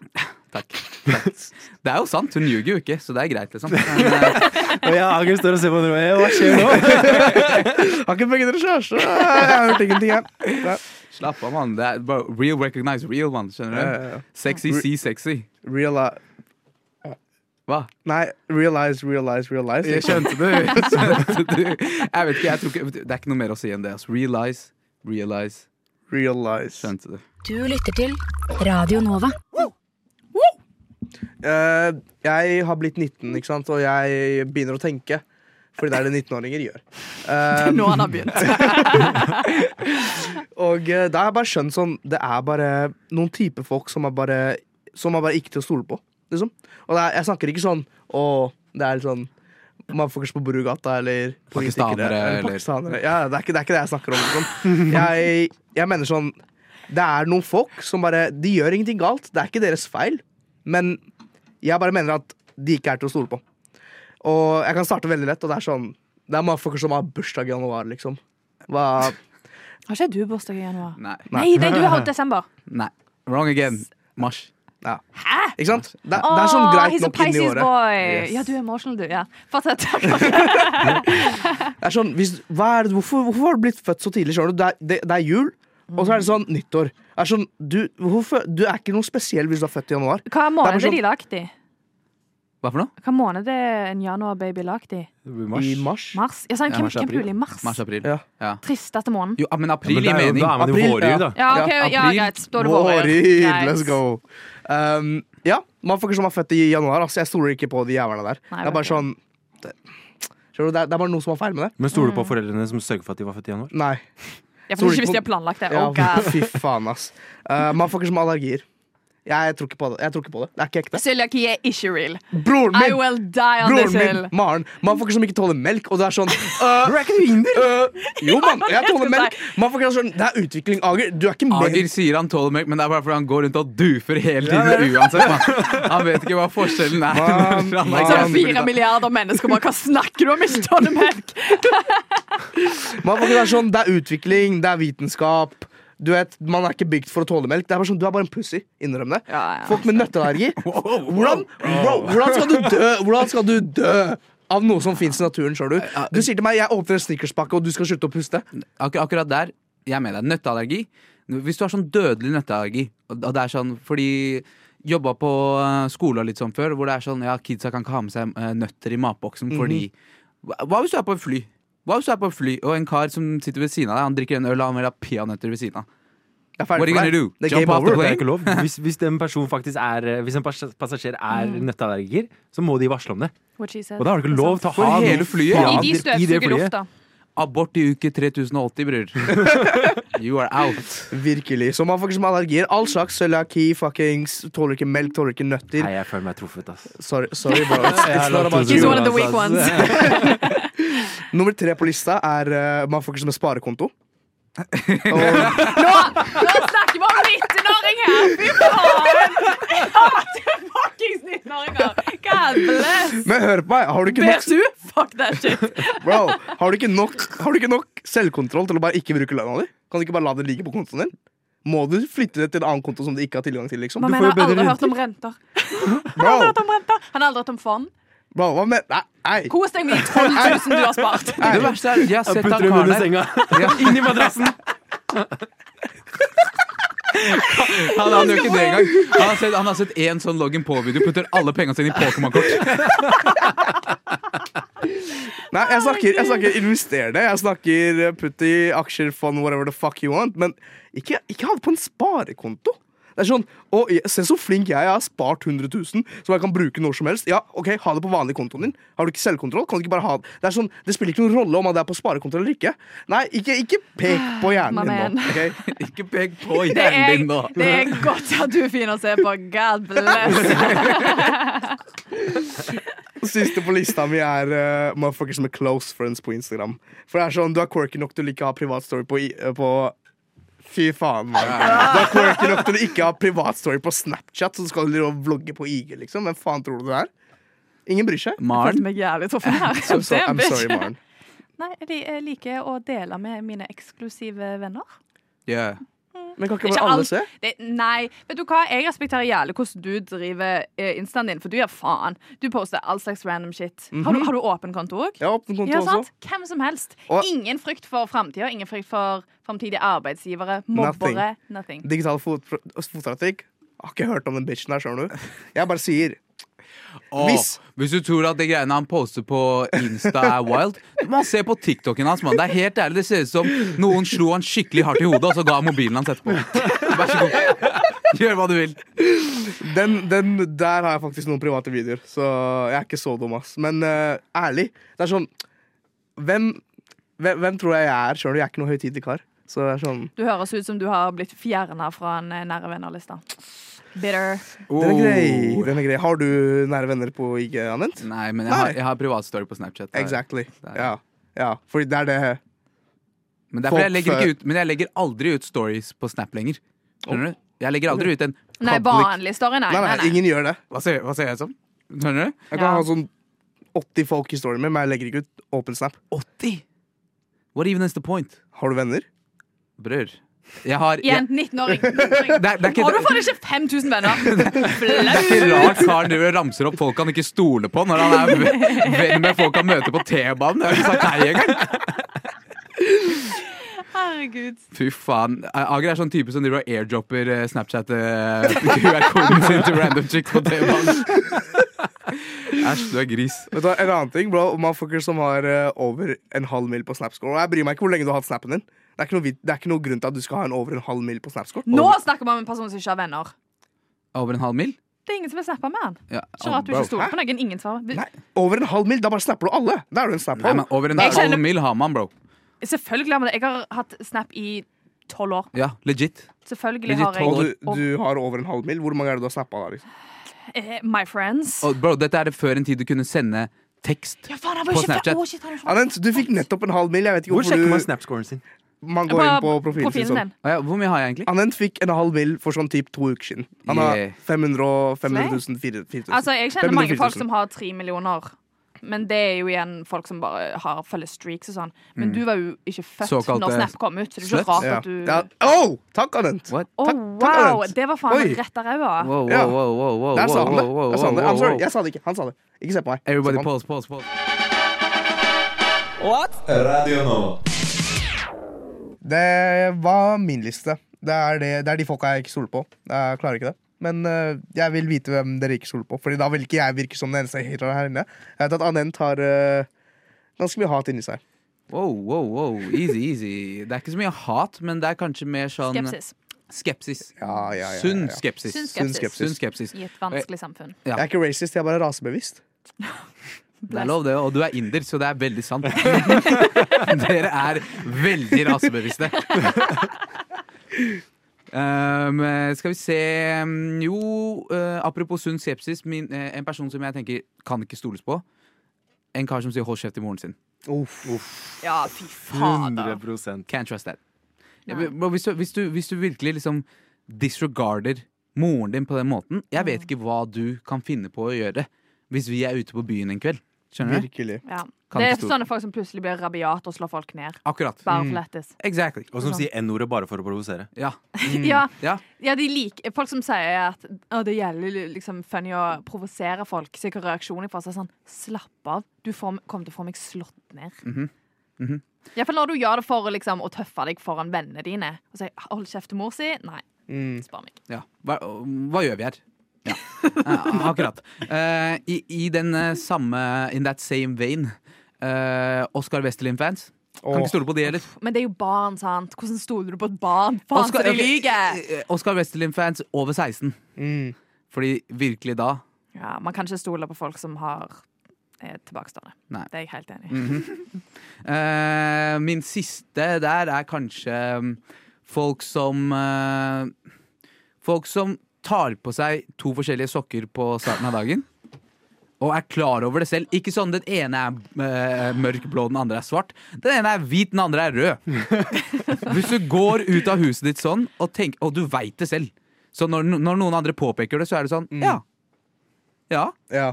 [SPEAKER 3] takk. Det er jo sant, hun ljuger jo ikke, så det er greit, liksom. Men, eh,
[SPEAKER 6] Og ja, Agel står og ser på hverandre. «Eh, Hva skjer nå?
[SPEAKER 5] Har ikke begge dere kjæreste? Jeg har hørt ingenting, jeg. Nei.
[SPEAKER 3] slapp av, mann. Det er bare real recognize real, mann.
[SPEAKER 5] Ja,
[SPEAKER 3] Skjønner
[SPEAKER 5] ja, ja.
[SPEAKER 3] du? Sexy see sexy.
[SPEAKER 5] Reali-
[SPEAKER 3] Hva?
[SPEAKER 5] Nei, realize, realize, realize.
[SPEAKER 3] Jeg skjønte det. Skjønte du? Jeg vet ikke, jeg tror ikke Det er ikke noe mer å si enn det. Altså. Realize, realize.
[SPEAKER 5] Realize.
[SPEAKER 3] Skjønte du.
[SPEAKER 7] Du lytter til Radio Nova.
[SPEAKER 5] Eh, jeg har blitt 19, ikke sant, og jeg begynner å tenke. Fordi det er det 19-åringer gjør. Eh,
[SPEAKER 8] Nå han har begynt.
[SPEAKER 5] og eh, da har jeg bare skjønt sånn Det er bare noen type folk som er bare Som er bare ikke til å stole på. Liksom. Og det er, jeg snakker ikke sånn Å, det er litt sånn Mannfolkers på Brugata eller politikere,
[SPEAKER 3] Pakistanere, eller-
[SPEAKER 5] pakistanere. Ja, det, er ikke, det er ikke det jeg snakker om. Liksom. Jeg, jeg mener sånn Det er noen folk som bare De gjør ingenting galt. Det er ikke deres feil. Men jeg bare mener at de ikke er til å stole på. Og jeg kan starte veldig lett, og det er sånn Det er mannfolker som har bursdag i januar, liksom. Hva
[SPEAKER 8] Har ikke du bursdag i januar?
[SPEAKER 3] Nei.
[SPEAKER 8] Nei, nei, du har desember.
[SPEAKER 3] Nei. Wrong again. Mars.
[SPEAKER 5] Ja. Ikke sant? Det, det er sånn greit
[SPEAKER 8] he's a
[SPEAKER 5] nok inn i
[SPEAKER 8] Pisces
[SPEAKER 5] året.
[SPEAKER 8] boy.
[SPEAKER 5] Yes.
[SPEAKER 8] Ja, du er emotional, du. Ja. Fortsett.
[SPEAKER 5] Det er sånn, hvis, hva er det, hvorfor, hvorfor har du blitt født så tidlig? skjønner du? Det, er- det, det er jul, og så er det sånn nyttår. Det er sånn, du, hvorfor, du er ikke noe spesiell hvis du er født i januar.
[SPEAKER 8] Hva måned
[SPEAKER 5] Det er bare
[SPEAKER 8] er de lagt i?
[SPEAKER 3] Hva for noe?
[SPEAKER 8] Hva måned er en januarbaby lagt i?
[SPEAKER 6] Det
[SPEAKER 5] I
[SPEAKER 6] blir mars.
[SPEAKER 5] mars.
[SPEAKER 8] Mars? Ja, sant,
[SPEAKER 3] Ja,
[SPEAKER 8] hvem,
[SPEAKER 6] mars,
[SPEAKER 8] hvem
[SPEAKER 6] april.
[SPEAKER 8] blir i mars?
[SPEAKER 3] Mars-april.
[SPEAKER 5] Ja.
[SPEAKER 8] Tristeste måneden.
[SPEAKER 3] Jo, ja, men april
[SPEAKER 6] Ja,
[SPEAKER 3] gir
[SPEAKER 6] men det er jo-
[SPEAKER 3] mening.
[SPEAKER 6] Da er man jo
[SPEAKER 5] April,
[SPEAKER 6] vårjul, da.
[SPEAKER 8] Ja, ok,
[SPEAKER 3] Ja,
[SPEAKER 8] ja,
[SPEAKER 3] april.
[SPEAKER 8] greit. Da er det vårøyd.
[SPEAKER 5] Våryd,
[SPEAKER 8] Greit.
[SPEAKER 5] let's go! Um, ja, mannfolker som er født i januar. Altså, jeg stoler ikke på de jævlene der.
[SPEAKER 8] Nei,
[SPEAKER 5] det er bare
[SPEAKER 8] ok.
[SPEAKER 5] sånn det, skjønner du, det, er, det er bare noe som er feil med det.
[SPEAKER 6] Men stoler du på foreldrene som sørger for at de var født i januar?
[SPEAKER 5] Nei.
[SPEAKER 8] Ja, for
[SPEAKER 5] Tror du
[SPEAKER 8] ikke hvis
[SPEAKER 5] ikke
[SPEAKER 8] de
[SPEAKER 5] på-
[SPEAKER 8] har planlagt det.
[SPEAKER 5] Ja,
[SPEAKER 8] Oh, God.
[SPEAKER 5] fy faen, ass. Uh, mannfolker som har allergier. Jeg, tror ikke på det. jeg tror ikke på det. Det er ikke ekte.
[SPEAKER 8] Cøliaki er ikke real.
[SPEAKER 5] Broren
[SPEAKER 8] I
[SPEAKER 5] min!
[SPEAKER 8] will die on this
[SPEAKER 5] Broren
[SPEAKER 8] hill.
[SPEAKER 5] min, Maren. Mannfolker som ikke tåler melk. Og det er sånn øh, øh, Jo, mann, jeg tåler melk. Mannfolker er sånn Det er utvikling, Ager. Du er ikke
[SPEAKER 3] Ager
[SPEAKER 5] med.
[SPEAKER 3] Ah, sier han tåler melk, men det er bare fordi han går rundt og dufer hele
[SPEAKER 5] Ja,
[SPEAKER 3] tiden uansett. Man. Han vet ikke hva forskjellen er.
[SPEAKER 5] Man,
[SPEAKER 3] Han er
[SPEAKER 5] man.
[SPEAKER 3] ikke
[SPEAKER 8] Så det
[SPEAKER 3] sånn-
[SPEAKER 8] er fire milliarder mennesker bare, Hva snakker du om? Ikke ta det melk!
[SPEAKER 5] Mannfolker er sånn Det er utvikling, det er vitenskap. Du vet, Man er ikke bygd for å tåle melk. Det er bare sånn, Du er bare en pussy. Innrøm det.
[SPEAKER 8] Ja, ja.
[SPEAKER 5] Folk med nøtteallergi. Hvordan, bro, hvordan skal du dø? Hvordan skal du dø? Av noe som fins i naturen, sjøl du. Du sier til meg jeg åpner en snickerspakke, og du skal slutte å puste.
[SPEAKER 3] Ak akkurat der, jeg er med deg. Nøtteallergi. Hvis du har sånn dødelig nøtteallergi, og og det er sånn fordi Jobba på eh, skolen litt sånn før, hvor det er sånn ja, kidsa kan ikke ha med seg eh, nøtter i matboksen fordi Hva hva hvis du er på et fly? Hva hvis du er på et fly, og en kar som sitter ved siden av deg, han drikker en øl og han vil ha peanøtter ved siden av?
[SPEAKER 5] Jeg er
[SPEAKER 3] What are you
[SPEAKER 5] for
[SPEAKER 3] gonna
[SPEAKER 5] deg.
[SPEAKER 3] do?
[SPEAKER 5] Det er
[SPEAKER 3] Jump
[SPEAKER 5] game
[SPEAKER 3] off the
[SPEAKER 5] over.
[SPEAKER 6] Det er ikke lov. Hvis, hvis en person faktisk er eh, Hvis en pas- passasjer er nøtteallergiker, så må de varsle om det. Og da har du ikke lov til å
[SPEAKER 3] For
[SPEAKER 6] ha
[SPEAKER 3] hele
[SPEAKER 6] noen
[SPEAKER 3] flyet?
[SPEAKER 6] fader
[SPEAKER 8] I de
[SPEAKER 6] i det
[SPEAKER 8] støvsuger
[SPEAKER 6] flyet.
[SPEAKER 8] lufta.
[SPEAKER 3] Abort i uke 3080, bror. You are out.
[SPEAKER 5] Virkelig. Så man får ikke som allergier. All slags cøliaki, fuckings Tåler ikke melk, tåler ikke nøtter.
[SPEAKER 6] Nei, jeg føler meg truffet, ass.
[SPEAKER 8] sånn.
[SPEAKER 5] Sorry, sorry bro. It's, it's not about
[SPEAKER 8] He's
[SPEAKER 5] you.
[SPEAKER 8] one of the weak ones.
[SPEAKER 5] Nummer tre på lista er eh, motherfuckers med sparekonto.
[SPEAKER 8] Nå, nå snakker vi om 19-åring her! Fy faen! Hater fuckings 19-åringer! God bless!
[SPEAKER 5] Men hør på meg, har du ikke nok,
[SPEAKER 8] BSU? Fuck that shit.
[SPEAKER 5] bro, har du ikke nok, har du ikke nok selvkontroll til å bare ikke bruke lønna di? Kan du ikke bare la det ligge på kontoen din? Må du flytte det til en annen konto som du ikke har tilgang til? liksom?
[SPEAKER 8] Man
[SPEAKER 6] får jo
[SPEAKER 8] mener har aldri
[SPEAKER 6] bedre
[SPEAKER 8] hørt om renter.
[SPEAKER 5] Bro,
[SPEAKER 8] Aldri hørt om renter. Han har aldri hørt om fond.
[SPEAKER 5] bro, hva mener Nei, nei.
[SPEAKER 8] Kos deg med de 12 000 du har spart.
[SPEAKER 3] Det verste er, jeg har sett han
[SPEAKER 6] Putter dem
[SPEAKER 3] karen
[SPEAKER 6] under
[SPEAKER 3] der.
[SPEAKER 6] senga. Inn i madrassen.
[SPEAKER 3] Han, han gjør ikke det engang. Han har sett- han har sett én sånn login på-video. Putter alle pengene sine i Pokémon-kort.
[SPEAKER 5] Nei, jeg snakker, jeg snakker invester det. Jeg snakker eh, putt i aksjer, fond, whatever the fuck you want. Men ikke, ikke ha det på en sparekonto. Det er sånn, å, jeg- Se så flink jeg er, jeg har spart 100 000 som jeg kan bruke når som helst. Ja, ok, Ha det på vanlig kontoen din. Har du ikke selvkontroll? kan du ikke bare ha Det Det er sånn, det spiller ikke noen rolle om det er på sparekonto eller ikke. Nei, ikke, ikke pek på hjernen din nå. ok?
[SPEAKER 3] Ikke pek på
[SPEAKER 8] Det
[SPEAKER 3] hjernen
[SPEAKER 8] er,
[SPEAKER 3] din nå.
[SPEAKER 8] det er godt at du er fin å se på. God bless.
[SPEAKER 5] Siste på lista mi er uh, motherfuckers med close friends på Instagram. For det er sånn, Du er quirky nok til å ikke ha privat story på, i- eh, på Fy faen. Man. Du er quirky nok til å ikke ha privat story på Snapchat, så skal du drive og vlogge på IG. liksom. Hvem faen tror du det er? Ingen bryr seg.
[SPEAKER 8] Jeg følte
[SPEAKER 3] Maren,
[SPEAKER 8] meg jævlig truffet her.
[SPEAKER 5] So, so,
[SPEAKER 8] Damn,
[SPEAKER 5] I'm
[SPEAKER 8] bitch.
[SPEAKER 5] sorry, Maren.
[SPEAKER 8] Nei, jeg jeg liker å dele med mine eksklusive venner.
[SPEAKER 3] yeah.
[SPEAKER 5] Men kan ikke
[SPEAKER 8] Ikke
[SPEAKER 5] bare alle
[SPEAKER 8] alt.
[SPEAKER 5] se?
[SPEAKER 8] Det, nei, vet du hva? Jeg respekterer jævlig hvordan du driver eh, instaen din, for du gir faen. Du poster all slags random shit. Har, du, har du åpen konto òg?
[SPEAKER 5] Jeg har åpen Mhm. konto
[SPEAKER 8] Ja, sant?
[SPEAKER 5] også.
[SPEAKER 8] Hvem som helst.
[SPEAKER 5] Og-
[SPEAKER 8] Ingen frykt for framtida, ingen frykt for framtidige arbeidsgivere, mobbere, nothing.
[SPEAKER 5] Digital fot fotavtrykk. Har ikke hørt om den bitchen der, skjønner du. Jeg bare sier
[SPEAKER 3] Åh,
[SPEAKER 5] Hvis-
[SPEAKER 3] hvis du tror at det greiene han poster på Insta er wild Du må se på TikToken hans, mann. Det er helt ærlig, det ser ut som noen slo han skikkelig hardt i hodet, og så ga han mobilen hans etterpå. Vær så god. Gjør hva du vil.
[SPEAKER 5] den, den der har jeg faktisk noen private videoer, så jeg er ikke så dum, ass. Men eh, ærlig, det er sånn Hvem, hvem, hvem tror jeg jeg er? Skjønner du, jeg er ikke noe høytidelig kar. Så det er sånn
[SPEAKER 8] Du høres ut som du har blitt fjerna fra en eh, nære venner-lista. Bitter.
[SPEAKER 5] Den er grei. den er grei Har du nære venner på IG anvendt?
[SPEAKER 3] Oh. Nei, men jeg har, jeg har privatstory på Snapchat. der.
[SPEAKER 5] Exactly.
[SPEAKER 3] Der.
[SPEAKER 5] Ja. ja. Fordi det er det
[SPEAKER 3] Men, derfor jeg
[SPEAKER 5] Folk
[SPEAKER 3] legger
[SPEAKER 5] før-
[SPEAKER 3] ikke ut, men jeg legger aldri ut stories på Snap lenger. Skjønner du? Jeg legger aldri ut en
[SPEAKER 8] Nei,
[SPEAKER 3] public
[SPEAKER 8] vanlig story, nei.
[SPEAKER 5] Nei, nei,
[SPEAKER 8] nei, nei.
[SPEAKER 5] ingen gjør det.
[SPEAKER 3] Hva ser, hva ser jeg som? Skjønner du?
[SPEAKER 5] Jeg kan
[SPEAKER 8] Ja.
[SPEAKER 5] ha sånn 80 folk i storyen min, men jeg legger ikke ut åpen snap.
[SPEAKER 3] 80! What even is the point?
[SPEAKER 5] Har du venner?
[SPEAKER 3] Brør. Jeg har jeg,
[SPEAKER 8] Igjen, 19-åring. 19-åring.
[SPEAKER 3] det, er, det er ikke
[SPEAKER 8] Har du faen ikke 5000 venner? Flaut!
[SPEAKER 3] ikke rart karen driver og ramser opp folk han ikke stoler på, når han er ve- venn med folk han møter på T-banen. Det har jeg ikke sagt nei engang.
[SPEAKER 8] Herregud.
[SPEAKER 3] Fy faen. Ager er sånn type som driver og airdropper eh, Snapchat eh, QR-koden sin til random chicks på T-banen. Æsj, du er gris.
[SPEAKER 5] Vet du hva, En annen ting, bro. Motherfuckers som har eh, over en halv mil på Snapscore. Og jeg bryr meg ikke hvor lenge du har hatt snappen din. Det er ikke noe, vit- det er ikke noe grunn til at du skal ha en over en halv mil på Snapscore.
[SPEAKER 8] Nå snakker vi om en person som ikke har venner.
[SPEAKER 3] Over en halv mil?
[SPEAKER 8] Det er ingen som vil snappe med han.
[SPEAKER 3] Ja.
[SPEAKER 8] Ikke rart du
[SPEAKER 3] bro.
[SPEAKER 8] ikke stoler på noen. Ingen svarer. Vi-
[SPEAKER 5] Nei, over en halv mil, Da bare snapper du alle. Da er du en snap
[SPEAKER 3] Nei, men over en
[SPEAKER 8] Jeg
[SPEAKER 3] halv
[SPEAKER 8] kjenner-
[SPEAKER 3] mil har man, bro.
[SPEAKER 8] Selvfølgelig har vi det. Jeg har hatt Snap i tolv år.
[SPEAKER 3] Ja, legit.
[SPEAKER 8] Selvfølgelig
[SPEAKER 3] Men de
[SPEAKER 8] har jeg
[SPEAKER 5] Og
[SPEAKER 3] tolv-
[SPEAKER 5] du, du har over en halv mil. Hvor mange er det du har snappa da? liksom?
[SPEAKER 8] Eh, My friends.
[SPEAKER 3] Og bro, dette er det før en tid du kunne sende tekst.
[SPEAKER 8] Ja, faen, han var
[SPEAKER 3] På
[SPEAKER 8] jo ikke
[SPEAKER 3] Snapchat.
[SPEAKER 8] Å, shit, han er jo ikke-
[SPEAKER 5] Anent, du fikk nettopp en halv mil. Jeg vet ikke
[SPEAKER 6] Hvor
[SPEAKER 5] hvorfor
[SPEAKER 6] sjekker man
[SPEAKER 5] du
[SPEAKER 6] Snap-scoren sin?
[SPEAKER 5] Man går inn på profilen, sin.
[SPEAKER 8] profilen
[SPEAKER 5] Sånn.
[SPEAKER 8] din.
[SPEAKER 3] Å ja, hvor mye har jeg egentlig?
[SPEAKER 5] Anent fikk en halv mil for sånn typ to uker siden. Han
[SPEAKER 3] Yeah.
[SPEAKER 5] har 500 og 500 000, 4000.
[SPEAKER 8] Altså, jeg kjenner
[SPEAKER 5] 500
[SPEAKER 8] mange
[SPEAKER 5] 000.
[SPEAKER 8] folk som har tre millioner. Men det er jo igjen folk som bare har følger streaks og sånn. Men du var jo ikke født
[SPEAKER 3] Såkalte
[SPEAKER 8] når Snap kom ut, så det er
[SPEAKER 3] sluts.
[SPEAKER 8] ikke rart
[SPEAKER 5] Mm. ja.
[SPEAKER 8] at du
[SPEAKER 5] ja. Oh, takk, Anent.
[SPEAKER 3] What?
[SPEAKER 8] Å,
[SPEAKER 5] Takk- takk,
[SPEAKER 8] wow!
[SPEAKER 5] Anent.
[SPEAKER 8] Det var faen
[SPEAKER 5] Oi.
[SPEAKER 8] rett av ræva.
[SPEAKER 3] Wow, wow,
[SPEAKER 5] Ja.
[SPEAKER 3] wow, wow, wow, wow,
[SPEAKER 5] Der sa han det.
[SPEAKER 3] wow,
[SPEAKER 5] Der sa han det.
[SPEAKER 3] wow,
[SPEAKER 5] I'm sorry,
[SPEAKER 3] wow.
[SPEAKER 5] jeg sa det ikke. Han sa det. Ikke se på meg.
[SPEAKER 3] Everybody
[SPEAKER 5] Se på han.
[SPEAKER 3] pause, pause, pause.
[SPEAKER 2] Radio nå.
[SPEAKER 5] Det var min liste. Det er, det, det er de folka jeg ikke stoler på. Jeg klarer ikke det. Men øh, jeg vil vite hvem dere ikke stoler på, Fordi da vil ikke jeg virke som den eneste hateren her inne. Jeg vet at Anent har øh, ganske mye hat inni seg.
[SPEAKER 3] Wow, wow, wow. Easy, easy. Det er ikke så mye hat, men det er kanskje mer sånn
[SPEAKER 8] Skepsis.
[SPEAKER 3] Skepsis.
[SPEAKER 5] Ja, ja, ja, ja,
[SPEAKER 3] Sunn
[SPEAKER 5] ja.
[SPEAKER 3] skepsis.
[SPEAKER 8] Sunn skepsis.
[SPEAKER 5] Sunn skepsis.
[SPEAKER 3] Sunn skepsis.
[SPEAKER 8] I et vanskelig samfunn.
[SPEAKER 3] Ja.
[SPEAKER 5] Jeg er ikke racist, jeg er bare rasebevisst.
[SPEAKER 3] Det er lov, det. Og du er inder, så det er veldig sant. Dere er veldig rasebevisste. Um, skal vi se um, Jo, uh, eh, apropos sunn sepsis. Min, eh, en person som jeg tenker kan ikke stoles på, en kar som sier 'hold kjeft' til moren sin.
[SPEAKER 8] Ja, fy fader.
[SPEAKER 6] 100
[SPEAKER 3] Can't trust that. Jeg
[SPEAKER 8] Nei.
[SPEAKER 3] vil- og Hvis du, hvis, du, hvis du virkelig liksom disregarder moren din på den måten Jeg vet ikke hva du kan finne på å gjøre hvis vi er ute på byen en kveld. Skjønner du?
[SPEAKER 5] Virkelig.
[SPEAKER 8] Ja.
[SPEAKER 3] Kan
[SPEAKER 8] Det er
[SPEAKER 3] ikke stå-
[SPEAKER 8] sånne folk som plutselig blir rabiate og slår folk ned.
[SPEAKER 3] Akkurat. Mm.
[SPEAKER 8] Bare for lættis.
[SPEAKER 3] Exactly.
[SPEAKER 6] Og som sier N-ordet bare for å provosere.
[SPEAKER 3] Ja.
[SPEAKER 8] Ja,
[SPEAKER 3] ja.
[SPEAKER 8] ja de liker, folk som sier at å, det gjelder liksom funny å provosere folk, så hva reaksjonen jeg får, så er sånn Slapp av, du får, kommer til å få meg slått ned.
[SPEAKER 6] Mhm.
[SPEAKER 8] Iallfall når du gjør det for liksom, å tøffe deg foran vennene dine. Og sier 'hold kjeft til mor si'. Nei,
[SPEAKER 5] Mm.
[SPEAKER 8] spar meg.
[SPEAKER 3] ja. Hva, hva gjør vi her? Ja. Eh, akkurat. Eh, i, I den eh, samme In that same vein. eh, Oscar Westerlin-fans. Kan ikke stole på de heller.
[SPEAKER 8] Men det er jo barn, sant? Hvordan stoler du på et barn? Faen, så de
[SPEAKER 3] ok,
[SPEAKER 8] lyver!
[SPEAKER 3] eh, Oscar Westerlin-fans over 16.
[SPEAKER 5] Mm.
[SPEAKER 3] Fordi virkelig da
[SPEAKER 8] Ja, man kan ikke stole på folk som har er tilbakestående.
[SPEAKER 3] Nei.
[SPEAKER 8] Det er jeg helt enig i.
[SPEAKER 6] Mm.
[SPEAKER 3] Eh, min siste der er kanskje mm, folk som eh, Folk som tar på seg to forskjellige sokker på starten av dagen. Og er klar over det selv. Ikke sånn den ene er eh, mørkblå, den andre er svart. Den ene er hvit, den andre er rød. Hvis du går ut av huset ditt sånn, og, tenk, og du veit det selv. Så når, når noen andre påpeker det, så er det sånn Ja. Ja.
[SPEAKER 5] Ja.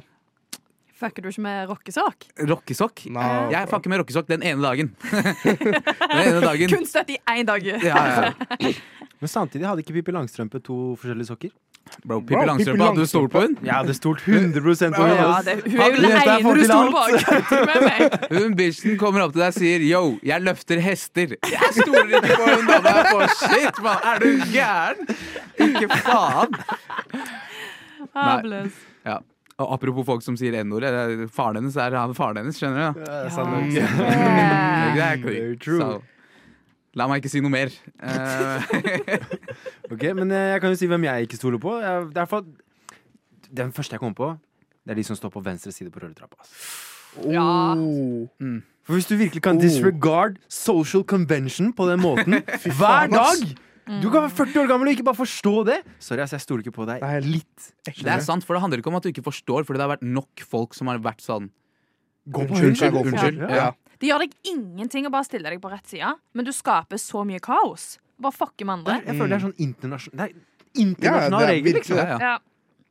[SPEAKER 8] Fucker du ikke med rockesokk?
[SPEAKER 3] Rockesokk.
[SPEAKER 5] Nei.
[SPEAKER 3] Jeg fucker med rockesokk den ene dagen. den ene dagen.
[SPEAKER 8] Kun støtt i én dag.
[SPEAKER 3] Ja, ja, ja.
[SPEAKER 6] Men samtidig hadde ikke Pippi Langstrømpe to forskjellige sokker?
[SPEAKER 3] Bro,
[SPEAKER 5] Wow,
[SPEAKER 3] Pippi
[SPEAKER 5] Pippi
[SPEAKER 3] Langstrømpe, hadde du stolt på hun?
[SPEAKER 6] Jeg hadde stolt 100 på det.
[SPEAKER 8] Ja, det, hun er
[SPEAKER 3] Hadde
[SPEAKER 8] jo den
[SPEAKER 3] du-
[SPEAKER 6] Dette er
[SPEAKER 8] ene
[SPEAKER 6] folk
[SPEAKER 8] du
[SPEAKER 6] til
[SPEAKER 8] stoler på.
[SPEAKER 6] alt.
[SPEAKER 8] Kødder du med meg?
[SPEAKER 3] Hun bitchen kommer opp til deg og sier yo, jeg løfter hester. Jeg stoler ikke på hun dama her for shit, mann. Er du gæren? Ikke faen. Nei.
[SPEAKER 8] Hables.
[SPEAKER 3] Ja. Og apropos folk som sier n-ordet. det er Faren hennes er han faren hennes, skjønner du?
[SPEAKER 6] Eh,
[SPEAKER 8] Ja.
[SPEAKER 3] Det
[SPEAKER 8] Yeah.
[SPEAKER 3] er ikke
[SPEAKER 6] Very
[SPEAKER 3] det.
[SPEAKER 6] true.
[SPEAKER 3] Så, La meg ikke si noe mer. Eh,
[SPEAKER 6] Ok, Men eh, jeg kan jo si hvem jeg ikke stoler på. Jeg, det er for, den første jeg kommer på, det er de som står på venstre side på rulletrappa. ass.
[SPEAKER 5] Oh.
[SPEAKER 8] Ja.
[SPEAKER 6] For hvis du virkelig kan disregard social convention på den måten hver
[SPEAKER 5] faen, ass.
[SPEAKER 6] dag Du kan være 40 år gammel og ikke bare forstå det! Sorry, ass, jeg stoler ikke på deg.
[SPEAKER 5] Nei,
[SPEAKER 6] litt.
[SPEAKER 3] det er sant, for det handler ikke om at du ikke forstår, for det har vært nok folk som har vært sånn.
[SPEAKER 6] Gå på
[SPEAKER 5] Unnskyld, jeg går for
[SPEAKER 3] Unnskyld.
[SPEAKER 6] Ja.
[SPEAKER 3] Ja.
[SPEAKER 8] Det gjør deg ingenting å bare stille deg på rett side, men du skaper så mye kaos. Bare fucker med
[SPEAKER 6] Der,
[SPEAKER 8] andre.
[SPEAKER 6] jeg føler det er sånn internasjonal Nei,
[SPEAKER 5] Ja,
[SPEAKER 6] internasjonal
[SPEAKER 5] det er
[SPEAKER 6] regel.
[SPEAKER 5] virkelig
[SPEAKER 6] Liksom.
[SPEAKER 3] Ja, ja.
[SPEAKER 8] Ja.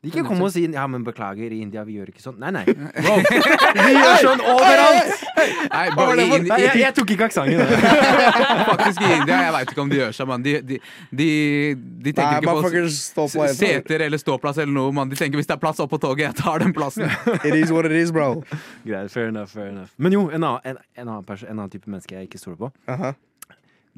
[SPEAKER 6] Ikke kom og si ja, men 'beklager, i India, vi gjør ikke sånn'. Nei, nei. Bro, vi gjør sånn overalt!
[SPEAKER 3] Nei, bare, i,
[SPEAKER 6] Nei, jeg, jeg tok ikke aksenten.
[SPEAKER 3] Faktisk i India, jeg veit ikke om de gjør seg, mann. De, de, de, de
[SPEAKER 5] Nei,
[SPEAKER 3] tenker
[SPEAKER 5] bare
[SPEAKER 3] ikke på
[SPEAKER 5] fuckings stå på
[SPEAKER 3] s-
[SPEAKER 5] en
[SPEAKER 3] seter eller ståplass eller noe, mann. De tenker hvis det er plass opp på toget, jeg tar den plassen.
[SPEAKER 5] It is what it is, bro.
[SPEAKER 6] Greit, fair enough, fair enough. Men jo, en annen, en, en annen, pers- en annen type menneske jeg ikke stoler på.
[SPEAKER 5] Aha.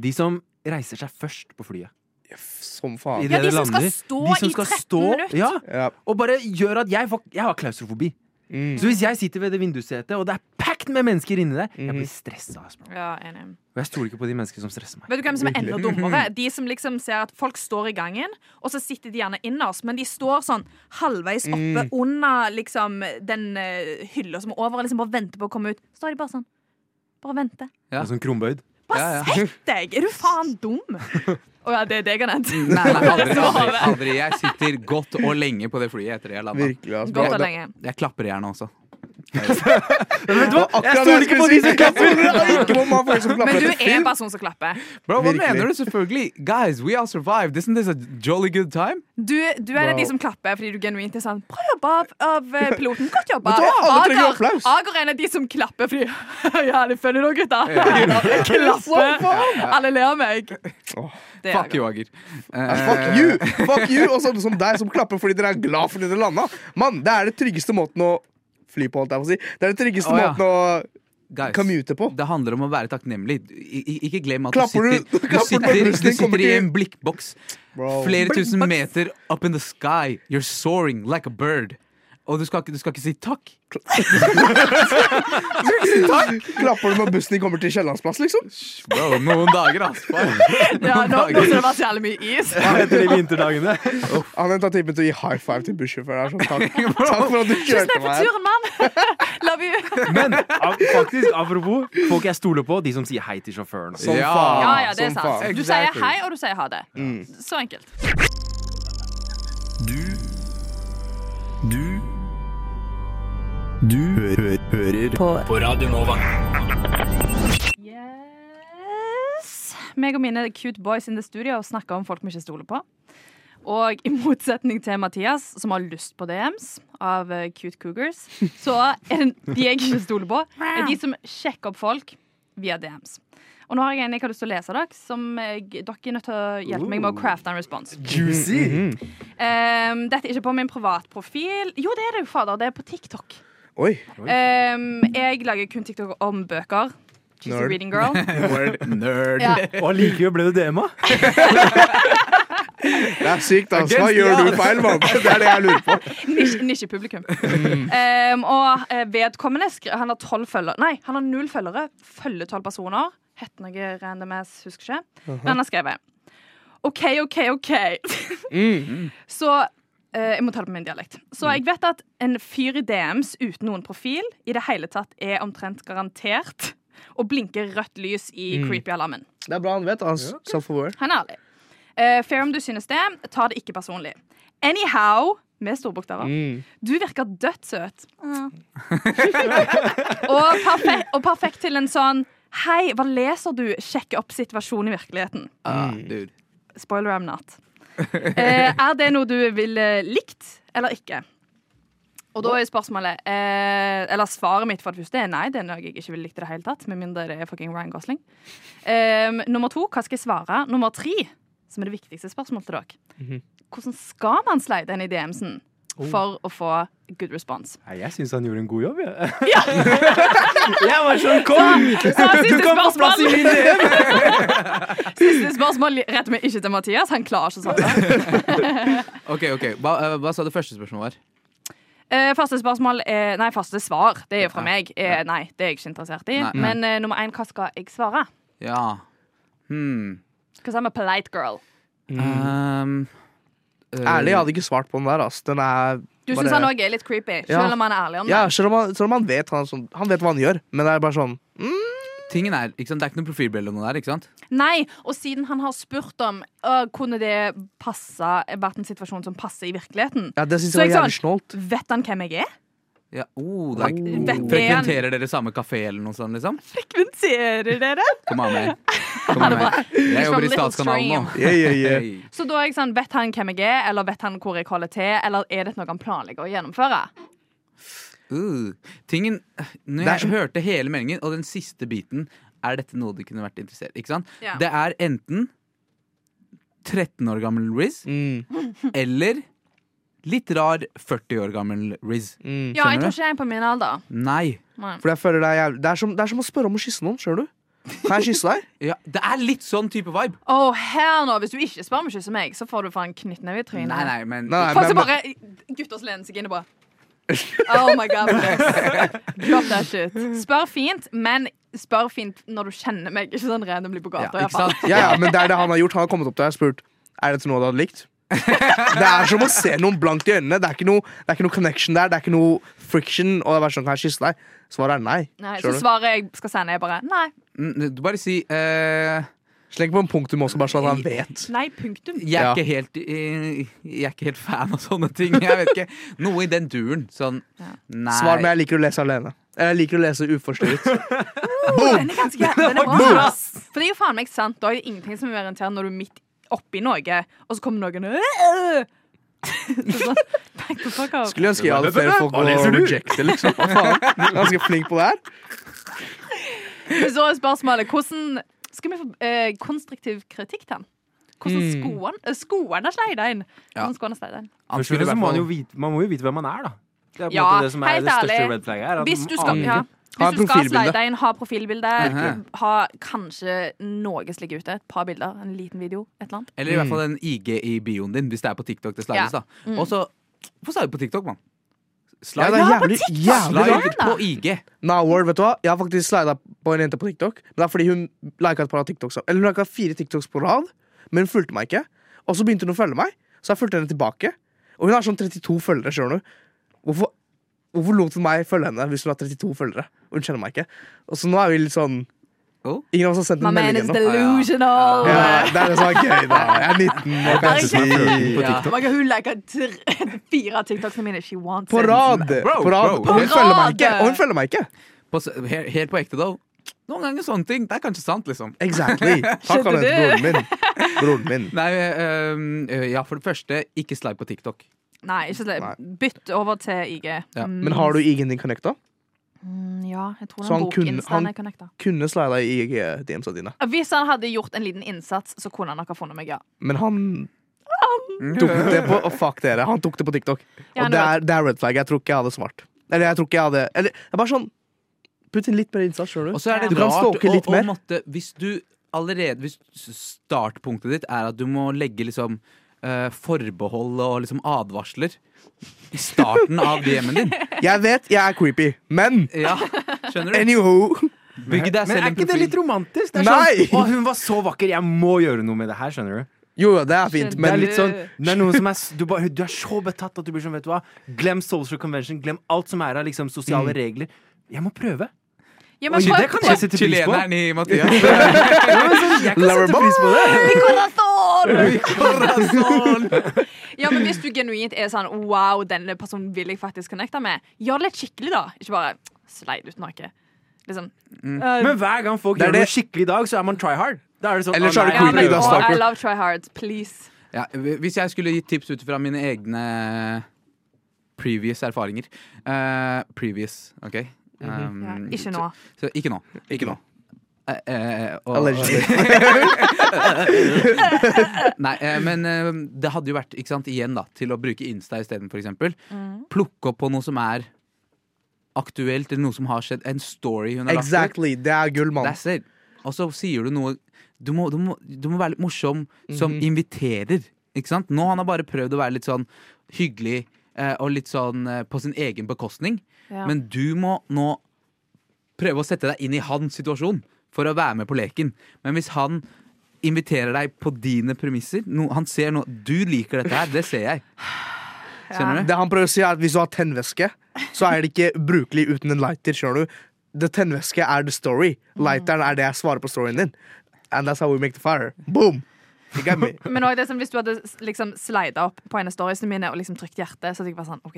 [SPEAKER 6] De som reiser seg først på flyet.
[SPEAKER 5] Som
[SPEAKER 6] I
[SPEAKER 5] faen.
[SPEAKER 8] Ja,
[SPEAKER 6] det
[SPEAKER 8] de
[SPEAKER 6] det
[SPEAKER 8] som skal
[SPEAKER 6] lander.
[SPEAKER 8] stå
[SPEAKER 6] De som
[SPEAKER 8] i
[SPEAKER 6] skal
[SPEAKER 8] 13
[SPEAKER 6] stå-
[SPEAKER 8] minutter.
[SPEAKER 6] Ja,
[SPEAKER 5] Ja.
[SPEAKER 6] og bare gjør at jeg, får, jeg har klaustrofobi.
[SPEAKER 5] Mm.
[SPEAKER 6] Så hvis jeg sitter ved det vindussetet, og det er packed med mennesker inni der, jeg blir stressa. ass, bro.
[SPEAKER 8] Ja, enig.
[SPEAKER 6] Og jeg stoler ikke på de menneskene som stresser meg.
[SPEAKER 8] Vet du hvem som er enda dummere?
[SPEAKER 5] Mm-hmm.
[SPEAKER 8] De som liksom ser at folk står i gangen, og så sitter de gjerne innerst, men de står sånn halvveis oppe
[SPEAKER 5] Mm.
[SPEAKER 8] under liksom den eh, hylla som er over, og liksom bare venter på å komme ut. Står de bare sånn. Bare venter.
[SPEAKER 3] Ja.
[SPEAKER 6] Og Sånn krumbøyd.
[SPEAKER 8] Bare
[SPEAKER 3] Ja, ja.
[SPEAKER 8] sett deg! Er du faen dum? Å ja, det er deg han het.
[SPEAKER 5] Mm.
[SPEAKER 3] Nei, nei, aldri,
[SPEAKER 8] Så var
[SPEAKER 3] aldri,
[SPEAKER 8] det.
[SPEAKER 3] aldri. Jeg sitter godt og lenge på det flyet etter det jeg landa.
[SPEAKER 5] Virkelig, ass.
[SPEAKER 8] Godt
[SPEAKER 5] Bra.
[SPEAKER 8] og lenge.
[SPEAKER 3] Jeg klapper gjerne også.
[SPEAKER 6] Vet du hva?
[SPEAKER 5] Akkurat
[SPEAKER 6] Jeg
[SPEAKER 5] det
[SPEAKER 6] stoler ikke på de
[SPEAKER 5] skulle
[SPEAKER 6] som
[SPEAKER 5] si.
[SPEAKER 6] klapper!
[SPEAKER 5] Jeg stoler ikke på motherfuckers som klapper
[SPEAKER 8] Men du
[SPEAKER 5] etter
[SPEAKER 8] er en
[SPEAKER 5] film.
[SPEAKER 8] person som klapper.
[SPEAKER 3] Bro, hva
[SPEAKER 5] Virkelig.
[SPEAKER 3] mener du? Selvfølgelig. Guys, we all survived. Isn't this a jolly good time?
[SPEAKER 8] Du, du er en av de
[SPEAKER 5] Wow.
[SPEAKER 8] som klapper fordi du genuint er sånn Bra jobba av, av eh, piloten. Godt jobba.
[SPEAKER 5] Vet du hva? Alle trenger
[SPEAKER 8] Ager-
[SPEAKER 5] applaus.
[SPEAKER 8] Ager er en av de som klapper fordi Ja, det følger dere, gutta. Jeg klapper. Alle ler av meg. Det er
[SPEAKER 3] Fuck you, Ager. Eh,
[SPEAKER 5] Fuck you! Fuck you! Og sånne som deg som klapper fordi dere er glad for dere landa. Mann, det er det tryggeste måten å fly på, holdt jeg på å si. Det er det tryggeste
[SPEAKER 3] Å, ja.
[SPEAKER 5] måten å
[SPEAKER 3] guys,
[SPEAKER 5] commute på.
[SPEAKER 3] Det handler om å være takknemlig. I, i, ikke glem at du
[SPEAKER 5] Klapper du-
[SPEAKER 3] sitter, du,
[SPEAKER 5] klapper du når
[SPEAKER 3] sitter,
[SPEAKER 5] bussen
[SPEAKER 3] du
[SPEAKER 5] din kommer
[SPEAKER 3] sitter i
[SPEAKER 5] til-
[SPEAKER 3] en blikkboks
[SPEAKER 5] Bro.
[SPEAKER 3] flere tusen meter up in the sky. You're soaring like a bird. Og du skal, ikke- du skal ikke si takk.
[SPEAKER 5] Klapper du når bussen din kommer til Kiellandsplass, liksom?
[SPEAKER 3] Bro, noen dager, ass. faen.
[SPEAKER 8] Ja, nå, nå skal det være så jævlig mye is.
[SPEAKER 6] Hva heter det i vinterdagene?
[SPEAKER 5] Han tar typen til å gi high five til bussjåføren. sånn, Takk. Takk for at du
[SPEAKER 8] Tusen
[SPEAKER 5] kjørte
[SPEAKER 8] takk
[SPEAKER 5] meg.
[SPEAKER 8] for
[SPEAKER 5] her.
[SPEAKER 8] turen, mann. Love you.
[SPEAKER 6] Men av- faktisk, apropos folk jeg stoler på, de som sier hei til sjåføren.
[SPEAKER 8] sånn
[SPEAKER 5] Som
[SPEAKER 3] Ja.
[SPEAKER 5] faen.
[SPEAKER 8] Ja, ja, det er
[SPEAKER 5] som
[SPEAKER 8] sant.
[SPEAKER 5] faen. Mm.
[SPEAKER 8] Du sier hei, og du sier ha det. Så enkelt.
[SPEAKER 2] Du Du
[SPEAKER 1] Du hø hø hører på. Radio Nova.
[SPEAKER 8] Yes. Meg og mine cute boys in the studio snakker om folk vi ikke stoler på. Og i motsetning til Mathias, som har lyst på DMs av eh, cute cougars, så er det de jeg ikke stoler på, er de som sjekker opp folk via DMs. Og nå har jeg en jeg har lyst til å lese dere, som jeg, dere er nødt til å hjelpe meg med å crafte en respons.
[SPEAKER 6] Juicy!
[SPEAKER 8] Ehm, dette er ikke på min privatprofil. Jo, det er det jo, fader. Det er på TikTok.
[SPEAKER 5] Oi.
[SPEAKER 8] Ehm, jeg lager kun TikTok om bøker. She's a
[SPEAKER 5] Nerd.
[SPEAKER 8] reading girl.
[SPEAKER 3] Nerd.
[SPEAKER 8] Ja.
[SPEAKER 6] Og allikevel ble du DM-a?
[SPEAKER 5] Det er sykt, altså. Hva
[SPEAKER 6] Against the
[SPEAKER 5] gjør
[SPEAKER 6] odds.
[SPEAKER 5] du feil, mann? Det er det jeg lurer på.
[SPEAKER 8] Nisje- Nisjepublikum. Ehm, og eh, vedkommende skri- Han har tolv følgere. Nei, han har null følgere. Følger tolv personer. Het noe random ass, husker ikke. Men han har skrevet OK, OK, OK. Så eh, Jeg må ta det på min dialekt. Så jeg vet at en fyr i DMs uten noen profil i det hele tatt er omtrent garantert å blinke rødt lys i creepy-alarmen.
[SPEAKER 5] Det er bra han vet, altså. Self-aware.
[SPEAKER 8] Han er ærlig. Eh, fair om du synes det. Ta det ikke personlig. Anyhow med store bokstaver. Du virker dødssøt. og, perfekt, og perfekt til en sånn Hei, hva leser du? Sjekke opp situasjonen i virkeligheten.
[SPEAKER 3] Ah, dude.
[SPEAKER 8] Spoiler I'm not. Eh, er det noe du ville likt eller ikke? Og da er spørsmålet eh, Eller svaret mitt for det første er nei. Det er noe jeg ikke ville likt i det hele tatt. Med mindre det er fucking Ryan Gosling. Ehm, nummer to, hva skal jeg svare? Nummer tre, som er det viktigste spørsmålet til dere.
[SPEAKER 6] Mhm.
[SPEAKER 8] Hvordan skal man slide inn i DMsen
[SPEAKER 6] Oh.
[SPEAKER 8] for å få good response?
[SPEAKER 6] Nei, jeg syns han gjorde en god jobb, jeg. jeg var sånn Kom! Du
[SPEAKER 8] Siste
[SPEAKER 6] kan få plass i
[SPEAKER 8] spørsmål,
[SPEAKER 6] min DM!
[SPEAKER 8] siste spørsmål retter vi ikke til Mathias. Han klarer ikke sånn.
[SPEAKER 3] Ok, ok. Hva, eh, hva sa det første spørsmålet var?
[SPEAKER 8] Eh, første spørsmål er, Nei, første svar. Det er jo fra
[SPEAKER 3] Ja.
[SPEAKER 8] meg. Eh, nei, det er jeg ikke interessert i.
[SPEAKER 3] Nei.
[SPEAKER 8] Men eh, nummer én, hva skal jeg svare?
[SPEAKER 3] Ja. Hmm.
[SPEAKER 8] Because I'm a polite girl. Mm.
[SPEAKER 3] Um, eh,
[SPEAKER 5] Ærlig, jeg hadde ikke svart på den der, ass. Den er
[SPEAKER 8] Du
[SPEAKER 5] bare-
[SPEAKER 8] syns han òg er litt creepy,
[SPEAKER 5] Ja.
[SPEAKER 8] selv om han er ærlig om det.
[SPEAKER 5] Ja, selv om han, selv om han vet han, er sånn, han vet hva han gjør, men det er bare sånn
[SPEAKER 3] Tingen er, ikke sant? Det er ikke noe profilbilde om noe der, ikke sant?
[SPEAKER 8] Nei, og siden han har spurt om «Å, Kunne det passe, vært en situasjon som passer i virkeligheten,
[SPEAKER 5] Ja, det synes
[SPEAKER 8] Så
[SPEAKER 5] jeg
[SPEAKER 8] ikke
[SPEAKER 5] var jævlig
[SPEAKER 8] sant?
[SPEAKER 5] snålt.
[SPEAKER 8] vet han hvem jeg er?
[SPEAKER 3] Ja, oh, det er,
[SPEAKER 8] Vet
[SPEAKER 3] oh.
[SPEAKER 8] en-
[SPEAKER 3] Frekventerer dere samme kafé eller noe sånt, liksom?
[SPEAKER 8] Frekventerer dere?
[SPEAKER 3] Kom an med. Kom an med. Jeg jobber i
[SPEAKER 8] Litt sånn
[SPEAKER 3] Statskanalen nå.
[SPEAKER 5] Yeah, yeah, yeah.
[SPEAKER 3] Hey.
[SPEAKER 8] Så da er jeg sånn, vet han hvem jeg er, eller vet han hvor jeg holder til, eller er det noe han planlegger å gjennomføre?
[SPEAKER 3] Uh, tingen, når
[SPEAKER 5] Det
[SPEAKER 3] jeg
[SPEAKER 5] er som-
[SPEAKER 3] hørte hele meldingen, og den siste biten Er dette noe du kunne vært interessert Ikke sant?
[SPEAKER 8] Ja.
[SPEAKER 3] Det er enten 13 år gammel Riz
[SPEAKER 5] Mm,
[SPEAKER 3] eller litt rar 40 år gammel Riz.
[SPEAKER 5] mm.
[SPEAKER 8] Ja,
[SPEAKER 3] Skjønner
[SPEAKER 8] jeg tror ikke det er en på min alder.
[SPEAKER 3] Nei.
[SPEAKER 8] Nei.
[SPEAKER 5] For jeg føler det er jævlig det er, som, det er som å spørre om å kysse noen, skjønner du? Kan jeg kysse deg?
[SPEAKER 3] Ja, det er litt sånn type vibe.
[SPEAKER 8] Åh, her nå, Hvis du ikke spør om å kysse meg, så får du faen knyttneve i trynet.
[SPEAKER 3] Nei, nei, men
[SPEAKER 5] Nei,
[SPEAKER 8] Folk som
[SPEAKER 5] men-
[SPEAKER 8] bare Gutter som lener seg inn og bare Oh my god, please. Drop that shit. Spør fint, men spør fint når du kjenner meg. Ikke sånn randomly på
[SPEAKER 3] ja,
[SPEAKER 8] gata. i hvert
[SPEAKER 3] Ikke
[SPEAKER 8] fall.
[SPEAKER 3] sant?
[SPEAKER 5] Ja, ja, men det er det han har gjort. Han har kommet opp til deg og spurt Er dette noe du hadde likt. Det er som å se noen blankt i øynene. Det er ikke noe, det er ikke noe connection der. Det er ikke noe friction. Og det er bare sånn, kan jeg kysse deg? Svaret er nei.
[SPEAKER 8] Nei, så
[SPEAKER 5] Skjønner du?
[SPEAKER 8] svaret jeg skal sende, er bare nei.
[SPEAKER 3] Mm, du Bare si eh,
[SPEAKER 5] Sleng på en punktum også, bare sånn at han vet.
[SPEAKER 8] Nei, punktum.
[SPEAKER 3] jeg, er
[SPEAKER 5] Ja.
[SPEAKER 3] ikke helt, eh, jeg er ikke helt fan av sånne ting. Jeg vet ikke, Noe i den duren. Sånn nei.
[SPEAKER 5] Svar med 'jeg liker å lese alene'. Eller 'jeg liker å lese uforstyrret'.
[SPEAKER 8] Den er ganske den er bra. For det er jo faen meg sant. Da er det ingenting som er mer irriterende når du er midt oppi noe, og så kommer noen «Øh!» Så sånn, Back the fuck up.
[SPEAKER 5] Skulle ønske jeg hadde flere folk
[SPEAKER 6] Hva leser
[SPEAKER 5] å
[SPEAKER 6] du?
[SPEAKER 5] rejecte, liksom. Hva faen? Ganske flink på det her.
[SPEAKER 8] Men så er spørsmålet hvordan skal vi få eh, konstruktiv kritikk til han? Hvordan
[SPEAKER 5] Hmm.
[SPEAKER 8] skoene, eh, skoene sleide inn?
[SPEAKER 3] Ja.
[SPEAKER 8] Hvordan skoene sleide inn?
[SPEAKER 3] Han
[SPEAKER 6] Først og
[SPEAKER 3] skulle i
[SPEAKER 6] fremst
[SPEAKER 3] hvert
[SPEAKER 6] må man,
[SPEAKER 3] fall-
[SPEAKER 6] jo vite, man må jo vite hvem man er, da. Det er på en
[SPEAKER 8] Ja,
[SPEAKER 6] måte det som er
[SPEAKER 8] helt
[SPEAKER 6] det største
[SPEAKER 8] ærlig.
[SPEAKER 6] red flagget her. at
[SPEAKER 8] Hvis
[SPEAKER 6] man
[SPEAKER 8] du skal,
[SPEAKER 6] aner
[SPEAKER 8] ja.
[SPEAKER 6] ikke.
[SPEAKER 5] Ha
[SPEAKER 8] Hvis du skal
[SPEAKER 5] profilbilde.
[SPEAKER 8] slide inn, ha profilbilde,
[SPEAKER 3] Mhm.
[SPEAKER 8] ha kanskje noe som ligger ute. Et par bilder, en liten video, et eller annet.
[SPEAKER 3] Eller i hvert fall
[SPEAKER 5] Mm.
[SPEAKER 3] en IG i bioen din, hvis det er på TikTok. det slides
[SPEAKER 8] Ja.
[SPEAKER 3] da Og så Hvorfor sa du på TikTok, mann?
[SPEAKER 5] Ja,
[SPEAKER 3] Slide,
[SPEAKER 5] det er jævlig, jævlig
[SPEAKER 3] slide
[SPEAKER 5] bra.
[SPEAKER 8] bra.
[SPEAKER 3] på IG.
[SPEAKER 5] Nah, word, vet du hva? Jeg har faktisk slida på en jente på TikTok. Men det er fordi hun lika et par av TikToks Eller hun liket fire TikToks på rad, men hun fulgte meg ikke. Og så begynte hun å følge meg, så jeg fulgte henne tilbake. Og hun har sånn 32 følgere, skjønner du. Hvorfor, hvorfor lot hun meg følge henne hvis hun har 32 følgere? Og hun kjenner meg ikke. Og så nå er vi litt sånn
[SPEAKER 3] Oh.
[SPEAKER 5] Ingen av oss har sendt
[SPEAKER 8] My
[SPEAKER 5] en
[SPEAKER 8] man
[SPEAKER 5] melding
[SPEAKER 8] is
[SPEAKER 5] ennå.
[SPEAKER 8] delusional.
[SPEAKER 5] Ja, det er det som er gøy, da. Jeg er 19 og
[SPEAKER 8] Det er
[SPEAKER 5] kanskje
[SPEAKER 8] ikke-
[SPEAKER 5] ti.
[SPEAKER 3] Ja.
[SPEAKER 8] Man kan- Hun liker tre- fire av TikToksene mine. She wants
[SPEAKER 5] På
[SPEAKER 8] it.
[SPEAKER 5] rad!
[SPEAKER 3] Bro,
[SPEAKER 5] På rad.
[SPEAKER 3] bro.
[SPEAKER 5] Og hun
[SPEAKER 8] På
[SPEAKER 5] følger meg
[SPEAKER 8] rad.
[SPEAKER 5] ikke! Og hun følger meg ikke!
[SPEAKER 3] På, s- he- helt på ekte, though. Noen ganger sånne ting. Det er kanskje sant, liksom.
[SPEAKER 5] Exactly. Takk,
[SPEAKER 8] Skjønner
[SPEAKER 5] Anette.
[SPEAKER 8] du?
[SPEAKER 5] Broren min. Broren min.
[SPEAKER 3] Nei, eh, eh, ja, for det første, ikke sleip på TikTok.
[SPEAKER 8] Nei, ikke
[SPEAKER 5] Nei.
[SPEAKER 8] slett. Bytt over til IG.
[SPEAKER 3] Ja.
[SPEAKER 8] Mm.
[SPEAKER 5] Men har du ingenting connecta?
[SPEAKER 8] Mm, Ja, jeg tror
[SPEAKER 5] Så han
[SPEAKER 8] den
[SPEAKER 5] kunne-
[SPEAKER 8] bokinstaen
[SPEAKER 5] han-
[SPEAKER 8] er connecta.
[SPEAKER 5] Kunne slida i IG-DM-sa dine.
[SPEAKER 8] Hvis han hadde gjort en liten innsats, så kunne han nok ha funnet meg, ja.
[SPEAKER 5] Men han tok det på og fuck dere, han tok det på TikTok.
[SPEAKER 8] Ja,
[SPEAKER 5] Og
[SPEAKER 8] det
[SPEAKER 5] det
[SPEAKER 8] var-
[SPEAKER 5] er, det er red flag. Jeg tror ikke jeg hadde svart. Eller jeg tror ikke jeg hadde Eller det er bare sånn Putt inn litt mer innsats, skjønner
[SPEAKER 3] Og
[SPEAKER 5] du.
[SPEAKER 3] så er det
[SPEAKER 5] Du kan
[SPEAKER 3] rart
[SPEAKER 5] stalke litt
[SPEAKER 3] å, å
[SPEAKER 5] mer.
[SPEAKER 3] måtte Hvis du allerede Hvis startpunktet ditt er at du må legge liksom eh, forbehold og liksom advarsler i starten av DM-en din.
[SPEAKER 5] Jeg vet jeg er creepy, men
[SPEAKER 3] Ja, skjønner du?
[SPEAKER 5] anyho
[SPEAKER 3] Bygg deg
[SPEAKER 6] Men
[SPEAKER 3] selv
[SPEAKER 6] er
[SPEAKER 3] en
[SPEAKER 6] ikke det
[SPEAKER 3] profil.
[SPEAKER 6] litt romantisk? Det er
[SPEAKER 5] Nei!
[SPEAKER 6] sånn, å, hun var så vakker, jeg må gjøre noe med det her, skjønner du.
[SPEAKER 5] Jo, jo, det er fint,
[SPEAKER 6] Det er
[SPEAKER 5] men
[SPEAKER 6] litt sånn, det er noen som er, s- du, bare, du er så betatt at du blir sånn, vet du hva. Glem social convention, glem alt som er av liksom, sosiale regler. Jeg må prøve.
[SPEAKER 8] Ja,
[SPEAKER 6] Oi,
[SPEAKER 8] Mm. men
[SPEAKER 6] det kan jeg sette pris på.
[SPEAKER 3] Chileneren i Mathias.
[SPEAKER 6] Ja, men sånn, jeg kan sette pris på det.
[SPEAKER 8] Corazon!
[SPEAKER 3] Corazon!
[SPEAKER 8] Ja, men hvis du genuint er sånn Wow, denne personen vil jeg faktisk connecte med, gjør det litt skikkelig, da. Ikke bare sleid ut noe. Liksom. Eh,
[SPEAKER 6] Men hver gang folk
[SPEAKER 5] Det er
[SPEAKER 6] gjør
[SPEAKER 5] det-
[SPEAKER 6] noe skikkelig i dag, så er man try hard. Da er det sånn,
[SPEAKER 5] Ellers
[SPEAKER 6] å,
[SPEAKER 5] er det
[SPEAKER 6] nei,
[SPEAKER 8] ja,
[SPEAKER 5] creepy,
[SPEAKER 8] men,
[SPEAKER 5] da,
[SPEAKER 8] og
[SPEAKER 5] stakkar.
[SPEAKER 8] I love try hard, please.
[SPEAKER 3] Ja, hvis jeg skulle gitt tips ut fra mine egne previous erfaringer Eh, Previous, OK? Um,
[SPEAKER 8] Mhm. Ja, ikke nå.
[SPEAKER 3] Så, så ikke nå. Ikke nå. Eh, eh, og-
[SPEAKER 5] Allegedly.
[SPEAKER 3] Nei, eh, men eh, det hadde jo vært ikke sant, igjen da, til å bruke Insta isteden, f.eks. eksempel
[SPEAKER 8] Mm.
[SPEAKER 3] Plukke opp på noe som er aktuelt, eller noe som har skjedd. En story hun har lagt ut.
[SPEAKER 5] Exactly. Det er gull, mann.
[SPEAKER 3] That's it. Og så sier du noe Du må, du må, du må være litt morsom som
[SPEAKER 5] Mhm.
[SPEAKER 3] inviterer. Ikke sant? Nå han har bare prøvd å være litt sånn hyggelig eh, og litt sånn eh, på sin egen bekostning.
[SPEAKER 8] Ja.
[SPEAKER 3] Men du må nå prøve å sette deg inn i hans situasjon for å være med på leken. Men hvis han inviterer deg på dine premisser no, Han ser nå Du liker dette her, det ser jeg. Skjønner du?
[SPEAKER 5] Det han prøver å si er at Hvis du har tennvæske, så er det ikke brukelig uten en lighter. skjønner du? Det Tennvæske er the story. Lighteren er det jeg svarer på storyen din. And that's how we make the fire. Boom! You got me.
[SPEAKER 8] Men også det som, hvis du hadde liksom slida opp på en av storiesene mine og liksom trykt hjerte, så hadde jeg bare sånn OK.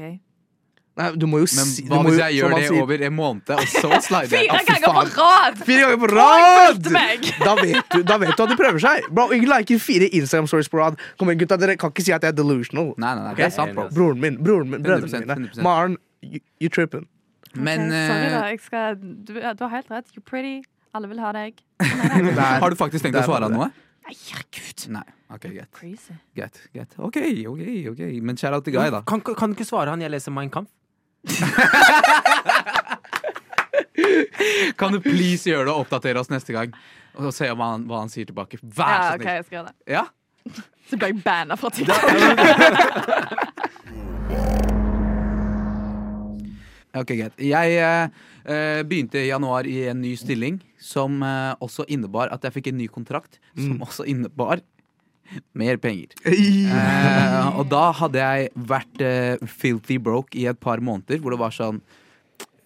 [SPEAKER 5] Nei, du må jo
[SPEAKER 3] Men
[SPEAKER 5] si
[SPEAKER 3] hva
[SPEAKER 5] du må
[SPEAKER 3] hvis
[SPEAKER 5] jo-
[SPEAKER 3] jeg
[SPEAKER 5] som
[SPEAKER 3] gjør
[SPEAKER 5] han
[SPEAKER 3] det
[SPEAKER 5] sier-
[SPEAKER 3] over en måned, og så slider jeg?
[SPEAKER 8] Fire
[SPEAKER 3] Å, fy
[SPEAKER 8] ganger på
[SPEAKER 3] faen.
[SPEAKER 8] rad!
[SPEAKER 5] Fire ganger på
[SPEAKER 8] Å,
[SPEAKER 5] rad!
[SPEAKER 8] jeg følte meg!
[SPEAKER 5] Da vet, du, da vet du at de prøver seg. Bro, Ingen liker fire Instagram stories på rad. Kom igjen, gutta, Dere kan ikke si at jeg er delusional.
[SPEAKER 3] Nei, nei, nei, det er sant, bro.
[SPEAKER 5] Broren min, broren min, brødrene
[SPEAKER 3] 100%,
[SPEAKER 5] mine.
[SPEAKER 3] 100%.
[SPEAKER 5] Maren, you, you tripping.
[SPEAKER 3] Men
[SPEAKER 8] Ok, Sorry, da.
[SPEAKER 3] eh,
[SPEAKER 8] Jeg skal, du, du har helt rett. You're pretty. Alle vil ha deg.
[SPEAKER 3] har du faktisk tenkt å
[SPEAKER 5] Der var
[SPEAKER 3] svare
[SPEAKER 5] det.
[SPEAKER 3] noe?
[SPEAKER 8] Nei, herregud.
[SPEAKER 3] Nei. OK, greit.
[SPEAKER 8] Crazy.
[SPEAKER 3] greit, greit. OK, OK. ok Men shout out til Guy, da.
[SPEAKER 6] Kan, kan du ikke svare han jeg leser Mein Kampf?
[SPEAKER 3] Kan du please gjøre det og oppdatere oss neste gang? Og se om han, hva han sier tilbake. Vær
[SPEAKER 8] Ja,
[SPEAKER 3] så
[SPEAKER 8] ok,
[SPEAKER 3] snill.
[SPEAKER 8] jeg skal gjøre det.
[SPEAKER 3] Ja?
[SPEAKER 8] Så ble jeg banna fra TikTok.
[SPEAKER 3] Ok, greit. Jeg eh, eh, begynte i januar i en ny stilling, som eh, også innebar at jeg fikk en ny kontrakt, som også innebar mer penger. Eh, og da hadde jeg vært eh, filthy broke i et par måneder, hvor det var sånn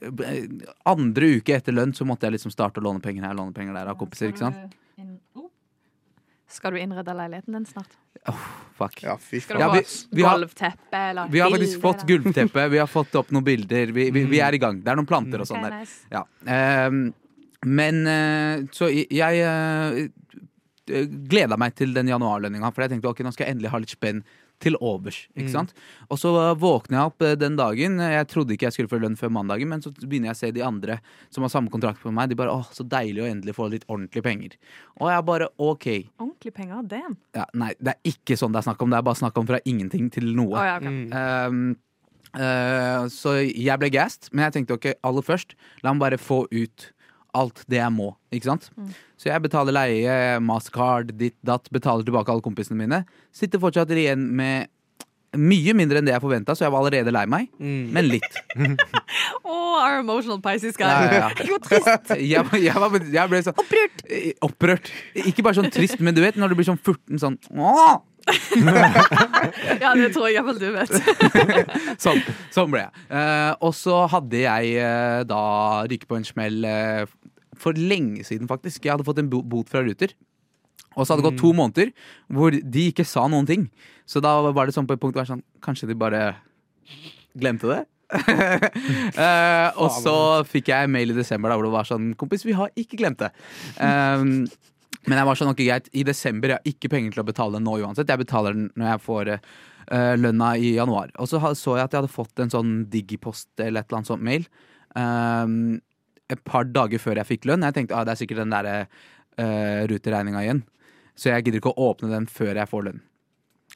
[SPEAKER 3] eh, Andre uke etter lønn så måtte jeg liksom starte å låne penger her låne penger der av kompiser. ikke sant?
[SPEAKER 8] Skal du innrede leiligheten din snart?
[SPEAKER 3] Fuck.
[SPEAKER 5] Ja, fy faen.
[SPEAKER 8] Skal du
[SPEAKER 3] Ja,
[SPEAKER 8] ha
[SPEAKER 3] vi- vi har-
[SPEAKER 8] gulvteppe eller
[SPEAKER 3] Vi har faktisk
[SPEAKER 8] bilder,
[SPEAKER 3] fått
[SPEAKER 8] eller?
[SPEAKER 3] gulvteppe, vi har fått opp noen bilder. Vi, vi, vi er i gang. Det er noen planter og sånn
[SPEAKER 8] Ok,
[SPEAKER 3] der.
[SPEAKER 8] nice.
[SPEAKER 3] Ja. ehm, men eh, så jeg eh, gleda meg til den januarlønninga, for jeg tenkte ok, nå skal jeg endelig ha litt spenn til overs. ikke sant? Og så eh, våkner jeg opp eh, den dagen. Jeg trodde ikke jeg skulle få lønn før mandagen, men så begynner jeg å se de andre som har samme kontrakt på meg. De bare åh, så deilig å endelig få litt ordentlige penger. Og jeg bare ok.
[SPEAKER 8] Ordentlig penger, damn.
[SPEAKER 3] Ja, nei, det er ikke sånn det er snakk om. Det er bare snakk om fra ingenting til noe.
[SPEAKER 8] Å, ja, ok.
[SPEAKER 3] Um, eh, så jeg ble gassed, men jeg tenkte ok, aller først, la meg bare få ut alt det jeg må. Ikke sant? Så jeg betaler leie, mastercard, ditt, datt, betaler tilbake alle kompisene mine. Sitter fortsatt igjen med mye mindre enn det jeg forventa, så jeg var allerede lei meg. Men litt.
[SPEAKER 8] Å, our emotional Pisces guy.
[SPEAKER 3] Ja, ja, ja.
[SPEAKER 8] Jo, trist.
[SPEAKER 3] Jeg, var- jeg, var, jeg ble sånn
[SPEAKER 8] Opprørt.
[SPEAKER 3] Eh, Opprørt. Ikke bare sånn trist, men du vet når du blir sånn 14 sånn Åh!
[SPEAKER 8] Ja, det tror jeg iallfall du vet.
[SPEAKER 3] sånn, sånn ble jeg. Eh, og så hadde jeg eh, da ryket på en smell eh, for lenge siden, faktisk. Jeg hadde fått en bo- bot fra Ruter. Og så hadde det gått to måneder hvor de ikke sa noen ting. Så da var det sånn på et punkt hvor jeg var sånn, kanskje de bare glemte det? Eh, og så fikk jeg mail i desember da, hvor det var sånn Kompis, vi har ikke glemt det. Ehm, men jeg var sånn, ok greit, i desember jeg har ikke penger til å betale den nå uansett. Jeg betaler den når jeg får eh, eh, lønna i januar. Og så ha- så jeg at jeg hadde fått en sånn digipost eller et eller annet sånt mail. ehm, et par dager før jeg fikk lønn. Jeg tenkte ah, det er sikkert den der uh, ruteregninga igjen. Så jeg gidder ikke å åpne den før jeg får lønn.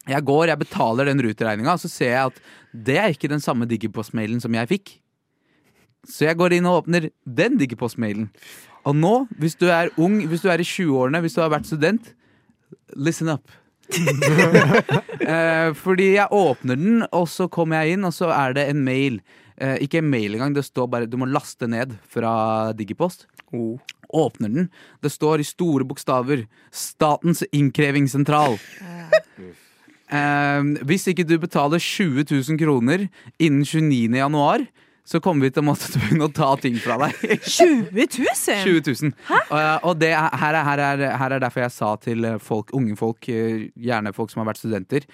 [SPEAKER 3] Jeg går, jeg betaler den ruteregninga, og så ser jeg at det er ikke den samme digipost-mailen som jeg fikk. Så jeg går inn og åpner den digipost-mailen. Og nå, hvis du er ung, hvis du er i 20-årene, hvis du har vært student, listen up. Eh, fordi jeg åpner den, og så kommer jeg inn, og så er det en mail. Eh, ikke en mail engang, det står bare du må laste ned fra Digipost. Åpner den. Det står i store bokstaver 'Statens innkrevingssentral'. Eh, hvis ikke du betaler 20 000 kroner innen 29. januar, så kommer vi til å måtte begynne å ta ting fra deg.
[SPEAKER 8] 20 000?
[SPEAKER 3] 20 000. Og, og det er, her, er, her, er, her er derfor jeg sa til folk, unge folk, eh, gjerne folk som har vært studenter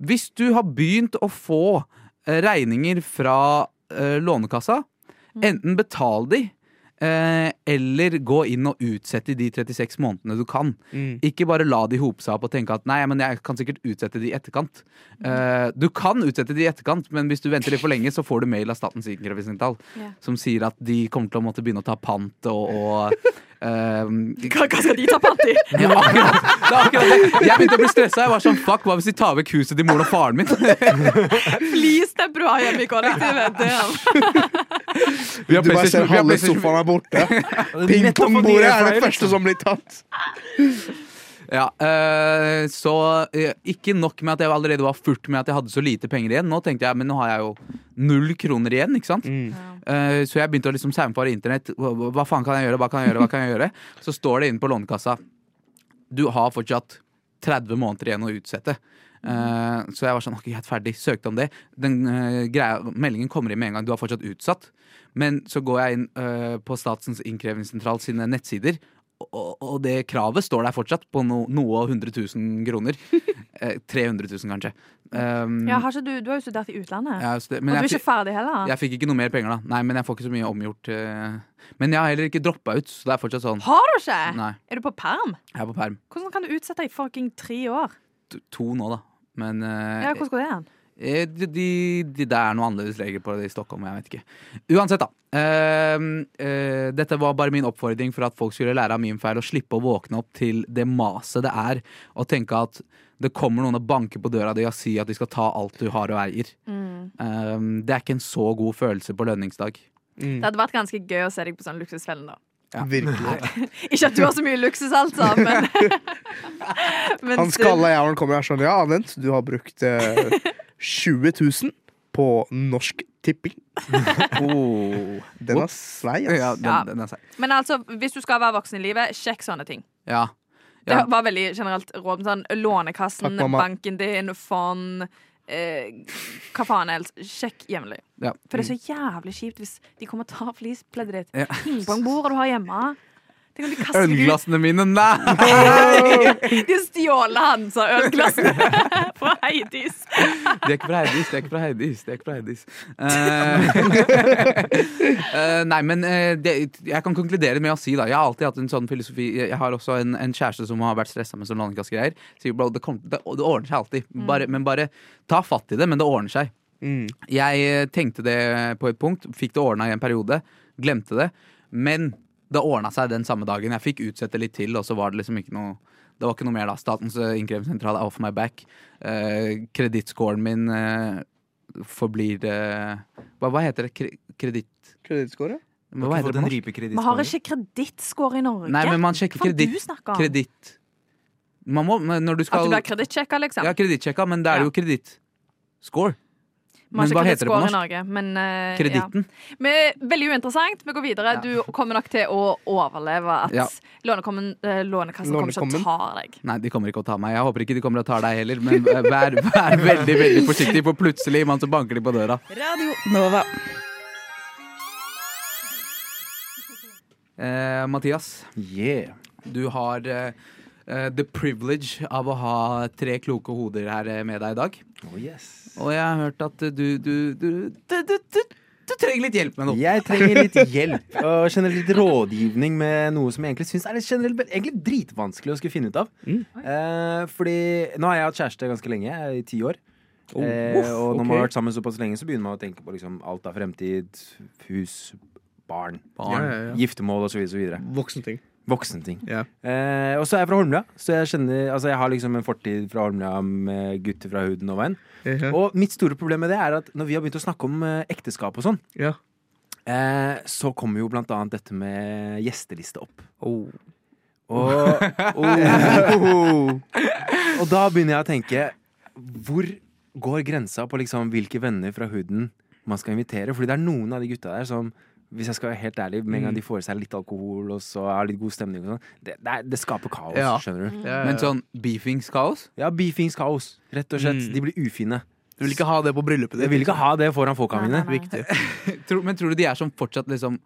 [SPEAKER 3] Hvis du har begynt å få eh, regninger fra eh, Lånekassa, enten betal de, eh, eller gå inn og utsette de 36 månedene du kan. Ikke bare la de hope seg opp og tenke at nei, men jeg kan sikkert utsette de i etterkant. Eh, du kan utsette de i etterkant, men hvis du venter litt for lenge, så får du mail av Statens innkrevingssentral
[SPEAKER 8] Ja.
[SPEAKER 3] som sier at de kommer til å måtte begynne å ta pant og, og eh,
[SPEAKER 8] Hva, hva skal de ta pant i?
[SPEAKER 3] ja, akkurat, det er akkurat det. Jeg begynte å bli stressa. Jeg var sånn, fuck, Hva hvis de tar vekk huset til moren og faren min?
[SPEAKER 8] Please, det er bra hjemme i kollektivet. Det er-
[SPEAKER 3] Vi har
[SPEAKER 5] Du bare ser
[SPEAKER 3] vi har
[SPEAKER 5] halve sofaen er borte. Pingpongbordet er det første som blir tatt.
[SPEAKER 3] Ja, eh, så eh, ikke nok med at jeg allerede var furt med at jeg hadde så lite penger igjen. Nå tenkte jeg, men nå har jeg jo null kroner igjen, ikke sant? Eh, så jeg begynte å liksom saumfare internett. Hva, hva- hva faen kan jeg gjøre, hva kan jeg gjøre, hva kan jeg gjøre? Så står det inne på Lånekassa. Du har fortsatt 30 måneder igjen å utsette. Eh, så jeg var sånn, ok, jeg er ferdig, søkte om det. Den eh, greia, meldingen kommer inn med en gang, du har fortsatt utsatt. Men så går jeg inn eh, på Statens innkrevingssentral sine nettsider, og, og det kravet står der fortsatt på no, noe 100 000 kroner. Eh, 300 000 kanskje. Um,
[SPEAKER 8] Ja, har ikke du, du har jo studert i utlandet.
[SPEAKER 3] ja, så det-
[SPEAKER 8] Og
[SPEAKER 3] men
[SPEAKER 8] du er
[SPEAKER 3] jeg,
[SPEAKER 8] ikke
[SPEAKER 3] fi-
[SPEAKER 8] ferdig heller.
[SPEAKER 3] jeg fikk ikke noe mer penger da. Nei, men jeg får ikke så mye omgjort. eh. Men jeg har heller ikke droppa ut, så det er fortsatt sånn.
[SPEAKER 8] Har du ikke?
[SPEAKER 3] Nei,
[SPEAKER 8] Er du på perm?
[SPEAKER 3] jeg er på perm.
[SPEAKER 8] Hvordan kan du utsette i fucking tre år?
[SPEAKER 3] T- To nå, da. Men eh,
[SPEAKER 8] Ja, hvordan går det an?
[SPEAKER 3] Eh, De, de, de, det er noen annerledes regler på det i Stockholm, jeg vet ikke. Uansett, da. Ehm, eh, dette var bare min oppfordring for at folk skulle lære av min feil og slippe å våkne opp til det maset det er å tenke at det kommer noen og banker på døra di og sier at de skal ta alt du har og eier.
[SPEAKER 8] Mm.
[SPEAKER 3] Ehm, det er ikke en så god følelse på lønningsdag. Mm.
[SPEAKER 8] Det hadde vært ganske gøy å se deg på sånn luksusfellen, da.
[SPEAKER 5] Virkelig.
[SPEAKER 8] Ikke at du har så mye luksus, altså, men, men
[SPEAKER 5] Han skalla jævelen kommer her sånn. Ja, Anent, du har brukt eh, 20 000 på Norsk Tipping.
[SPEAKER 3] Oh.
[SPEAKER 5] Den er sleig,
[SPEAKER 3] Ja,
[SPEAKER 5] ass.
[SPEAKER 3] den,
[SPEAKER 8] Ja.
[SPEAKER 3] den er seig.
[SPEAKER 8] Men altså, hvis du skal være voksen i livet, sjekk sånne ting.
[SPEAKER 3] Ja.
[SPEAKER 8] Det
[SPEAKER 3] Ja.
[SPEAKER 8] var veldig generelt råd. Sånn, lånekassen,
[SPEAKER 5] Takk, mamma.
[SPEAKER 8] banken din, fond eh, Hva faen helst. Sjekk jevnlig.
[SPEAKER 3] Ja.
[SPEAKER 8] For det er så jævlig kjipt hvis de kommer og tar flispleddet ditt.
[SPEAKER 3] Ja.
[SPEAKER 8] Pingpongbordet du har hjemme. Tenk om de kaster deg ut.
[SPEAKER 3] Ølglassene mine, nei!
[SPEAKER 8] De stjåler han, sa ølglassene fra Heidis.
[SPEAKER 3] Det er ikke fra Heidis, det er ikke fra Heidis. Det er ikke fra Heidis. Eh, eh, nei, men eh, det, jeg kan konkludere med å si da Jeg har alltid hatt en sånn filosofi Jeg har også en, en kjæreste som har vært stressa med sånn landkassegreier. Sier bro, det, kom, det, det ordner seg alltid. Bare, men bare ta fatt i det, men det ordner seg. Jeg eh, tenkte det på et punkt, fikk det ordna i en periode. Glemte det. Men det ordna seg den samme dagen. Jeg fikk utsette litt til, og så var det liksom ikke noe det var ikke noe mer da. Statens eh, innkrevingssentral er off my back. Eh, Kredittscoren min eh, forblir eh, hva, hva heter det? Kre- Kreditt...
[SPEAKER 5] Kredittskåret?
[SPEAKER 3] Hva heter det på norsk?
[SPEAKER 8] Vi har ikke kredittscore i Norge.
[SPEAKER 3] Nei, men man sjekker
[SPEAKER 8] Hva faen du
[SPEAKER 3] kreditt.
[SPEAKER 8] snakker om?
[SPEAKER 3] Kreditt. Man må, men når du
[SPEAKER 8] At
[SPEAKER 3] skal
[SPEAKER 8] du blir kredittsjekka, liksom.
[SPEAKER 3] Ja, kredittsjekka, men det er jo kredittscore.
[SPEAKER 8] Man
[SPEAKER 3] Men
[SPEAKER 8] har
[SPEAKER 3] hva
[SPEAKER 8] ikke
[SPEAKER 3] heter det på
[SPEAKER 8] kredittscore i
[SPEAKER 3] norsk?
[SPEAKER 8] Norge, men eh, ja.
[SPEAKER 3] Kreditten.
[SPEAKER 8] Men, veldig uinteressant. Vi går videre.
[SPEAKER 3] Ja.
[SPEAKER 8] Du kommer nok til å overleve at
[SPEAKER 3] Ja.
[SPEAKER 8] lånekommen, eh, Lånekassen kommer ikke
[SPEAKER 5] Lånekommen.
[SPEAKER 8] og tar deg.
[SPEAKER 3] Nei, de kommer ikke å ta meg. Jeg håper ikke de kommer og tar deg heller, men vær, vær veldig veldig forsiktig, for plutselig man så banker de på døra.
[SPEAKER 6] Eh,
[SPEAKER 3] Eh, Mathias,
[SPEAKER 6] Yeah.
[SPEAKER 3] du har eh, eh, the privilege av å ha tre kloke hoder her eh, med deg i dag.
[SPEAKER 6] Oh, yes.
[SPEAKER 3] Og jeg har hørt at du Du, du, du, du, du, du trenger litt hjelp med noe.
[SPEAKER 6] Jeg trenger litt hjelp og generelt litt rådgivning med noe som jeg egentlig syns er litt generelt, egentlig dritvanskelig å skulle finne ut av.
[SPEAKER 5] Mm.
[SPEAKER 6] Eh, fordi nå har jeg hatt kjæreste ganske lenge, jeg er i ti år.
[SPEAKER 5] Oh,
[SPEAKER 6] Eh, og når man har vært sammen såpass lenge, så begynner man å tenke på liksom, alt av fremtid, hus, barn,
[SPEAKER 3] Barn.
[SPEAKER 5] Ja, ja, ja.
[SPEAKER 6] giftermål osv. videre
[SPEAKER 5] Voksen ting.
[SPEAKER 6] Voksenting.
[SPEAKER 5] Ja.
[SPEAKER 6] Eh, og så er jeg fra Holmlia, så jeg, kjenner, altså, jeg har liksom en fortid fra Holmlia med gutter fra huden og veien.
[SPEAKER 5] Ja.
[SPEAKER 6] Og mitt store problem med det er at når vi har begynt å snakke om eh, ekteskap og sånn,
[SPEAKER 5] Ja.
[SPEAKER 6] eh, så kommer jo blant annet dette med gjesteliste opp.
[SPEAKER 5] Oh.
[SPEAKER 6] Og,
[SPEAKER 5] Oh.
[SPEAKER 6] og da begynner jeg å tenke Hvor går grensa på liksom hvilke venner fra huden man skal invitere? Fordi det er noen av de gutta der som hvis jeg skal være helt ærlig, Med en
[SPEAKER 5] Mm.
[SPEAKER 6] gang de får i seg litt alkohol og så har litt god stemning, og sånn, det, det, er- det skaper kaos.
[SPEAKER 5] Ja.
[SPEAKER 6] skjønner du?
[SPEAKER 5] Ja,
[SPEAKER 3] Men sånn beefingskaos?
[SPEAKER 6] Ja, Beefings kaos, rett og slett.
[SPEAKER 5] Mm.
[SPEAKER 6] De blir ufine.
[SPEAKER 5] Du vil ikke ha det på bryllupet ditt?
[SPEAKER 6] Jeg vil ikke ha det foran folka
[SPEAKER 10] Nei, nei,
[SPEAKER 6] mine.
[SPEAKER 10] nei.
[SPEAKER 5] Viktig.
[SPEAKER 3] Tror- Men tror du de er som fortsatt liksom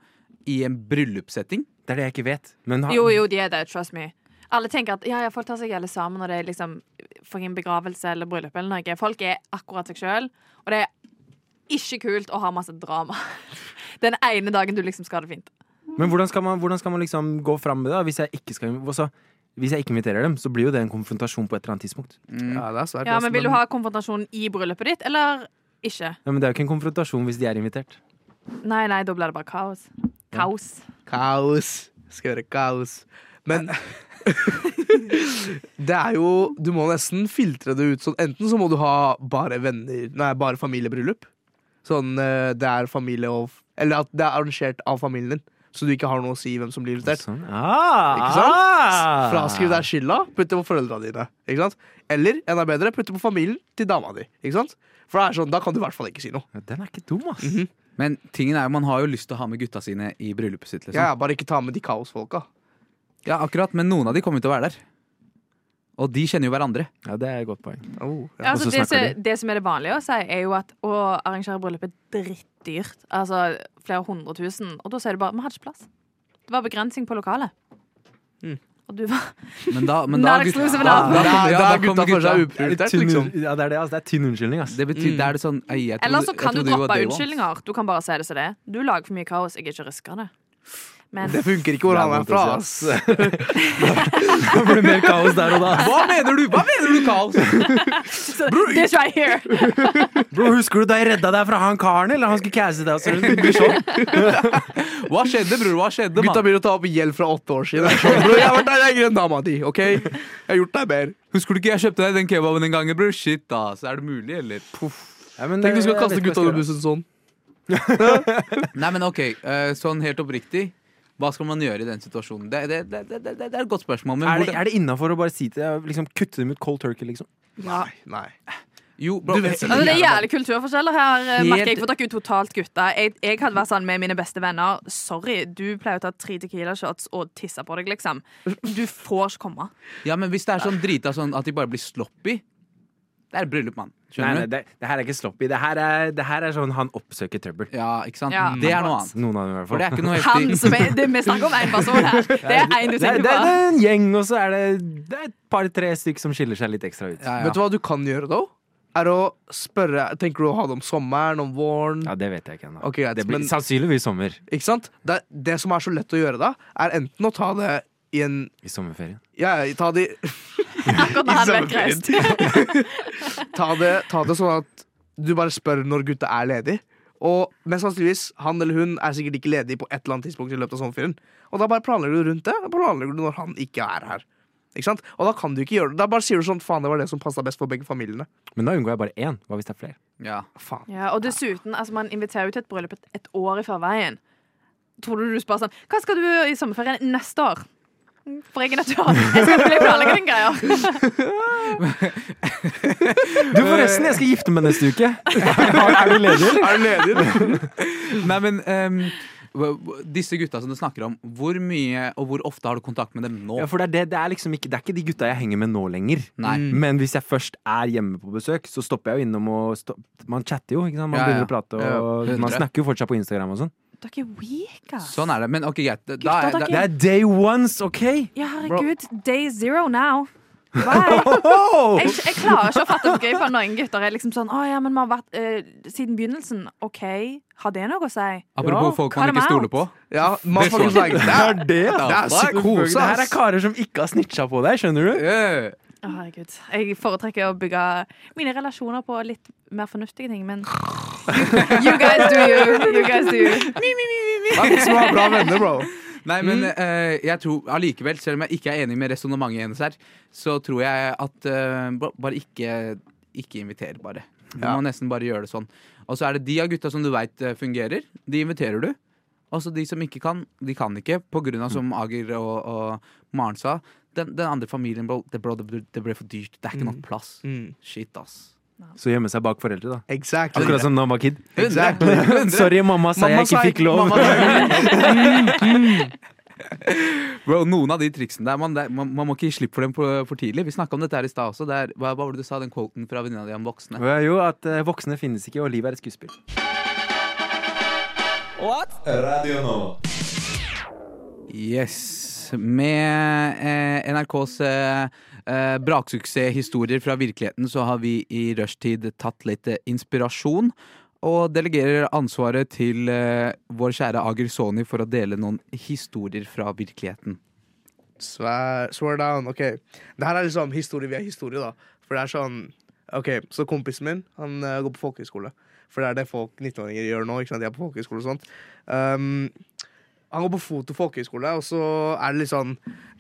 [SPEAKER 3] i en bryllupssetting?
[SPEAKER 6] Det er det jeg ikke vet. Men ha,
[SPEAKER 8] Jo, jo, de er det. Trust me. Alle tenker at ja, ja, folk tar seg alle sammen når det er liksom fucking begravelse eller bryllup eller noe. Folk er akkurat seg sjøl, og det er ikke kult å ha masse drama. Den ene dagen du liksom skal ha det fint.
[SPEAKER 6] Men hvordan skal man, hvordan skal man liksom gå fram med det? da, Hvis jeg ikke skal også, Hvis jeg ikke inviterer dem, så blir jo det en konfrontasjon på et eller annet tidspunkt.
[SPEAKER 5] Ja, det er svært.
[SPEAKER 8] Ja,
[SPEAKER 5] altså,
[SPEAKER 8] men Vil du ha konfrontasjon i bryllupet ditt, eller ikke?
[SPEAKER 6] Ja, men det er jo ikke en konfrontasjon hvis de er invitert.
[SPEAKER 8] Nei, nei, da blir det bare kaos. Kaos.
[SPEAKER 5] Kaos. Skal gjøre kaos. Men det er jo Du må nesten filtre det ut sånn. Enten så må du ha bare venner Nei, bare familiebryllup. Sånn eh, det er familie og Eller at det er arrangert av familien din. Så du ikke har noe å si hvem som blir invitert.
[SPEAKER 6] Sånn. Ah,
[SPEAKER 5] Ikke sant?
[SPEAKER 6] ah.
[SPEAKER 5] Fraskriv deg skylda, putt det på foreldra dine. Ikke sant? Eller enda bedre, putt det på familien til dama di. Ikke sant? For det er sånn, da kan du i hvert fall ikke si noe.
[SPEAKER 6] Ja, Den er ikke dum, ass.
[SPEAKER 3] Men tingen er jo, man har jo lyst til å ha med gutta sine i bryllupet sitt. liksom
[SPEAKER 5] Ja, ja, bare ikke ta med de kaosfolka.
[SPEAKER 3] Ja, akkurat, men noen av de kommer jo til å være der. Og de kjenner jo hverandre.
[SPEAKER 6] Ja, det er et godt poeng.
[SPEAKER 5] Oh, ja.
[SPEAKER 8] Ja, altså,
[SPEAKER 6] Og så
[SPEAKER 8] det,
[SPEAKER 6] snakker
[SPEAKER 8] som, det som er det vanlige å si, er jo at å arrangere bryllup er drittdyrt. Altså flere hundre tusen. Og da sier du bare vi hadde ikke plass. Det var begrensning på lokalet.
[SPEAKER 5] Mm.
[SPEAKER 8] Og du var
[SPEAKER 3] Men da, men da,
[SPEAKER 8] Not
[SPEAKER 3] gutta-
[SPEAKER 8] exclusive
[SPEAKER 3] da,
[SPEAKER 8] enough.
[SPEAKER 3] da,
[SPEAKER 5] Da-
[SPEAKER 3] kommer- ja,
[SPEAKER 5] da
[SPEAKER 3] da
[SPEAKER 5] er gutta
[SPEAKER 3] kommer
[SPEAKER 5] for
[SPEAKER 3] gutta.
[SPEAKER 5] seg
[SPEAKER 6] Det er litt
[SPEAKER 5] uprioritert,
[SPEAKER 6] tynn,
[SPEAKER 5] liksom.
[SPEAKER 6] ja, det er det, ass. Det er tynn unnskyldning, ass.
[SPEAKER 3] Det betyr, da er det sånn ei, jeg trodde-
[SPEAKER 8] Eller så
[SPEAKER 3] jeg
[SPEAKER 8] kan du
[SPEAKER 3] trodde vi var
[SPEAKER 8] droppe
[SPEAKER 3] day one.
[SPEAKER 8] unnskyldninger. Du kan bare si det som det er. Du lager for mye kaos. Jeg er ikke risker det. Men
[SPEAKER 5] Det funker ikke hvor han er fra, ass.
[SPEAKER 6] Det blir mer kaos der og da.
[SPEAKER 3] Hva mener du? Hva mener du, kaos?
[SPEAKER 8] this right here!
[SPEAKER 6] Bro, Husker du da jeg redda deg fra han karen? Eller han skulle casse deg? Så det blir sånn.
[SPEAKER 3] Hva skjedde, bror? Hva skjedde,
[SPEAKER 5] Gutta
[SPEAKER 3] mann?
[SPEAKER 5] begynner å ta opp gjeld fra åtte år siden. Jeg skjønner, bro, jeg har vært der, jeg er grønn dama di, OK? Jeg har gjort deg mer.
[SPEAKER 3] Husker du ikke jeg kjøpte deg den kebaben den gangen, bror? Shit, da. Så er det mulig, eller?
[SPEAKER 6] Ja, men, eh,
[SPEAKER 5] Tenk du skal
[SPEAKER 6] jeg
[SPEAKER 5] kaste
[SPEAKER 6] vet ikke
[SPEAKER 5] gutta under
[SPEAKER 6] hva jeg skal gjøre.
[SPEAKER 5] bussen sånn.
[SPEAKER 3] Nei, men ok, eh, sånn helt oppriktig. Hva skal man gjøre i den situasjonen? Det, det, det, det, det, det er et godt spørsmål. Men
[SPEAKER 6] Er det,
[SPEAKER 3] hvordan-
[SPEAKER 6] er det innafor å bare si til liksom, Kutte dem ut cold turkey, liksom?
[SPEAKER 5] Nei, nei.
[SPEAKER 3] jo, bro, eh,
[SPEAKER 5] Du vet
[SPEAKER 8] Altså, det er jævlig kulturforskjeller her, eh,
[SPEAKER 3] Helt-
[SPEAKER 8] merker jeg. For dere er jo totalt gutta. Jeg, jeg hadde vært sånn med mine beste venner. Sorry, du pleier å ta tre Tequila-shots og tisse på deg, liksom. Du får ikke komme.
[SPEAKER 3] Ja, men hvis det er sånn drita sånn at de bare blir sloppy, det er bryllup, mann.
[SPEAKER 6] Nei, nei,
[SPEAKER 3] Skjønner du?
[SPEAKER 6] det, det her er ikke sloppy. Det her er, det her er sånn han oppsøker trøbbel.
[SPEAKER 3] Ja, ikke sant?
[SPEAKER 8] Ja,
[SPEAKER 3] det er noe
[SPEAKER 8] akkurat.
[SPEAKER 3] annet.
[SPEAKER 6] Noen av dem, i
[SPEAKER 3] For
[SPEAKER 6] hvert fall.
[SPEAKER 3] det er ikke noe
[SPEAKER 8] Han
[SPEAKER 3] heftig.
[SPEAKER 8] som er, det, Vi snakker om én person her. Det er én du
[SPEAKER 6] det, er-
[SPEAKER 8] tenker
[SPEAKER 6] det, er-
[SPEAKER 8] på.
[SPEAKER 6] det er en gjeng, og så er det, det er et par-tre stykk som skiller seg litt ekstra ut.
[SPEAKER 3] Ja, ja.
[SPEAKER 5] Vet du hva du kan gjøre, da? Er å spørre Tenker du å ha det om sommeren, om våren?
[SPEAKER 6] Ja, det vet jeg ikke ennå.
[SPEAKER 5] Ok, greit,
[SPEAKER 6] det blir
[SPEAKER 5] men-
[SPEAKER 6] sannsynligvis sommer.
[SPEAKER 5] Ikke sant? Det, det som er så lett å gjøre da, er enten å ta det i en
[SPEAKER 6] I sommerferien.
[SPEAKER 5] Ja, ja, ta det,
[SPEAKER 8] Akkurat når han vet krest.
[SPEAKER 5] ta, det, ta det sånn at du bare spør når gutta er ledig. Og mest sannsynligvis han eller hun er sikkert ikke ledig på et eller annet tidspunkt. i løpet av sommerferien Og da bare planlegger du rundt det. Og planlegger du når han ikke er her. Ikke sant? Og da kan du ikke gjøre det. Da bare sier du sånn faen, det var det som passa best for begge familiene.
[SPEAKER 6] Men da unngår jeg bare én. Hva hvis det er flere?
[SPEAKER 3] Ja.
[SPEAKER 5] Faen.
[SPEAKER 8] Ja, og dessuten, altså, man inviterer jo til et bryllup et, et år i forveien. Tror du du spør sånn Hva skal du gjøre i sommerferien neste år? For jeg er naturlig. Jeg skal bli planlegger den greia.
[SPEAKER 6] Du, forresten, jeg skal gifte meg neste uke! er du ledig, eller?
[SPEAKER 5] Er du ledig? eller?
[SPEAKER 3] Nei, men ehm, hva- hva- disse gutta som du snakker om, hvor mye og hvor ofte har du kontakt med dem nå?
[SPEAKER 6] Ja, for det er, det, det, er liksom ikke, det er ikke de gutta jeg henger med nå lenger.
[SPEAKER 3] Nei.
[SPEAKER 6] Men hvis jeg først er hjemme på besøk, så stopper jeg jo innom og stopp, Man chatter jo, ikke sant? Man
[SPEAKER 3] Ja, ja.
[SPEAKER 6] begynner å prate, og
[SPEAKER 3] Ja, hundre.
[SPEAKER 6] man snakker jo fortsatt på Instagram og sånn.
[SPEAKER 8] Dere er weak, ass.
[SPEAKER 3] Sånn er det. Men ok, greit. Da,
[SPEAKER 8] Gutta,
[SPEAKER 3] er- da,
[SPEAKER 8] dere-
[SPEAKER 6] Det er day ones, OK?
[SPEAKER 8] Ja, herregud. Day zero now. Jeg, jeg klarer ikke å fatte hvor gøy for noen gutter er liksom sånn Å ja, men vi har vært eh, siden begynnelsen. OK, har det noe å si?
[SPEAKER 3] Apropos folk man
[SPEAKER 8] Cut 'em
[SPEAKER 3] ikke stoler
[SPEAKER 8] out.
[SPEAKER 3] på.
[SPEAKER 5] Ja,
[SPEAKER 3] Det er
[SPEAKER 5] motherfuckers
[SPEAKER 3] sånn.
[SPEAKER 5] like, det er det, da. Det er psykose,
[SPEAKER 6] Det her er
[SPEAKER 5] ass.
[SPEAKER 6] karer som ikke har snitcha på deg, skjønner du?
[SPEAKER 3] Yeah.
[SPEAKER 8] Å, herregud. Jeg foretrekker å bygge mine relasjoner på litt mer fornuftige ting, men You guys do you. You guys do you.
[SPEAKER 5] Det er ikke så bra- bra venner, bro.
[SPEAKER 3] Nei, men eh, jeg tror allikevel, selv om jeg ikke er enig med resonnementet hennes her, så tror jeg at eh, ba- bare ikke, ikke inviter, bare. Du må nesten bare gjøre det sånn. Og så er det de av gutta som du veit fungerer, de inviterer du. Og så de som ikke kan, de kan ikke, på grunn av som Ager og, og Maren sa. Den, den andre familien, bro, det, bro, det, ble, det ble for dyrt. Det er ikke nok plass.
[SPEAKER 5] Mm.
[SPEAKER 3] Shit, ass.
[SPEAKER 6] Så gjemme seg bak foreldre, da.
[SPEAKER 5] Exactly.
[SPEAKER 6] Akkurat som da han var kid.
[SPEAKER 5] Exactly.
[SPEAKER 6] Sorry, mamma sa
[SPEAKER 5] Mamma
[SPEAKER 6] jeg ikke
[SPEAKER 5] sa
[SPEAKER 6] fikk lov.
[SPEAKER 3] Bro, noen av de triksene der, man, det- man, man må ikke gi slipp for dem for, for tidlig. Vi snakka om dette her i stad også. Det er, hva, hva var det du sa, den quoten fra venninna di om voksne?
[SPEAKER 6] Ja, Jo, at eh, voksne finnes ikke, og livet er et skuespill.
[SPEAKER 3] Yes. Med eh, NRKs eh, eh, braksuksesshistorier fra virkeligheten så har vi i rushtid tatt litt eh, inspirasjon. Og delegerer ansvaret til eh, vår kjære Ager Soni for å dele noen historier fra virkeligheten.
[SPEAKER 5] Swear, swear down. Ok. Det her er liksom historie via historie, da. For det er sånn Ok, så kompisen min han eh, går på folkehøyskole. For det er det folk 19-åringer gjør nå. ikke sant? De er på folkehøyskole og sånt. Um, han går på foto folkehøyskole, og så er det litt sånn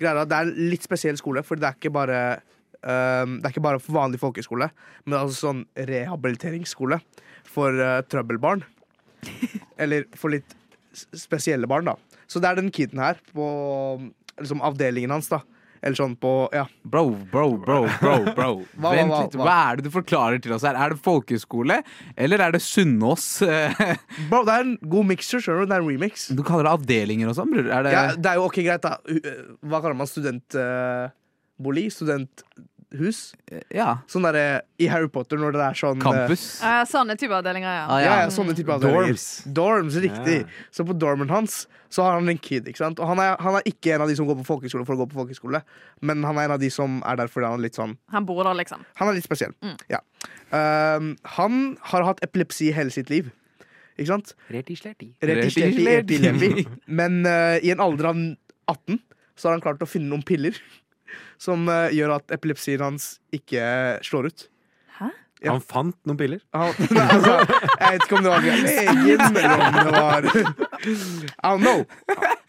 [SPEAKER 5] greier at Det er en litt spesiell skole, for det er ikke bare um, Det er ikke bare for vanlig folkehøyskole, men det er altså sånn rehabiliteringsskole for eh, trøbbelbarn. Eller for litt s- spesielle barn, da. Så det er den kiden her på liksom, avdelingen hans, da. Eller sånn på Ja.
[SPEAKER 3] Bro, bro, bro, bro. bro
[SPEAKER 5] hva,
[SPEAKER 3] Vent
[SPEAKER 5] hva,
[SPEAKER 3] litt,
[SPEAKER 5] hva?
[SPEAKER 3] hva er det du forklarer til oss her? Er det folkehøyskole, eller er det Sunnaas? eh,
[SPEAKER 5] Bro, det er en god mixer, skjønner du. Det er en remix.
[SPEAKER 3] Du kaller det avdelinger og sånn, bror. Er det
[SPEAKER 5] Ja, det er jo ok, greit, da. Hu- eh, Hva kaller man studentbolig? Studenthus?
[SPEAKER 3] ja.
[SPEAKER 5] Sånn derre i Harry Potter når det er sånn eh,
[SPEAKER 3] campus?
[SPEAKER 11] Eh, sånne type avdelinger, ja.
[SPEAKER 3] Ah,
[SPEAKER 5] Ja, ja, sånne type avdelinger.
[SPEAKER 6] Dorms.
[SPEAKER 5] Dorms, riktig.
[SPEAKER 6] Ja.
[SPEAKER 5] Så på dormen hans så har han en kid. ikke sant? Og han er, han er ikke en av de som går på folkehøyskole for å gå på folkehøyskole, men han er en av de som er der fordi han er litt sånn
[SPEAKER 11] Han bor der, liksom.
[SPEAKER 5] Han er litt spesiell. Ja. Ehm, han har hatt epilepsi hele sitt liv. Ikke sant? Reti, sleti, eti, levi. Men eh, i en alder av 18 så har han klart å finne noen piller som eh, gjør at epilepsien hans ikke eh, slår ut. Ja.
[SPEAKER 6] Han fant noen piller.
[SPEAKER 5] Han, nei, altså, jeg vet ikke om det var legen, eller om det var I don't know.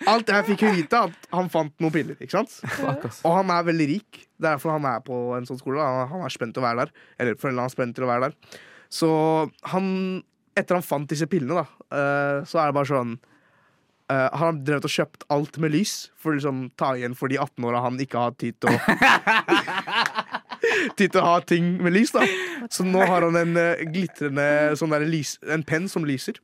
[SPEAKER 5] Alt jeg fikk vite, at han fant noen piller. ikke sant? Og han er veldig rik. Det er derfor han er på en sånn skole. da. Han- Han er spent til å være der. Eller foreldrene hans er spent til å være der. Så han Etter han fant disse pillene, da, eh, så er det bare sånn eh, Har han drevet og kjøpt alt med lys for å liksom ta igjen for de 18-åra han ikke har tid til å Tid til å ha ting med lys, da. Så nå har han en eh, glitrende sånn der lys, En penn som lyser.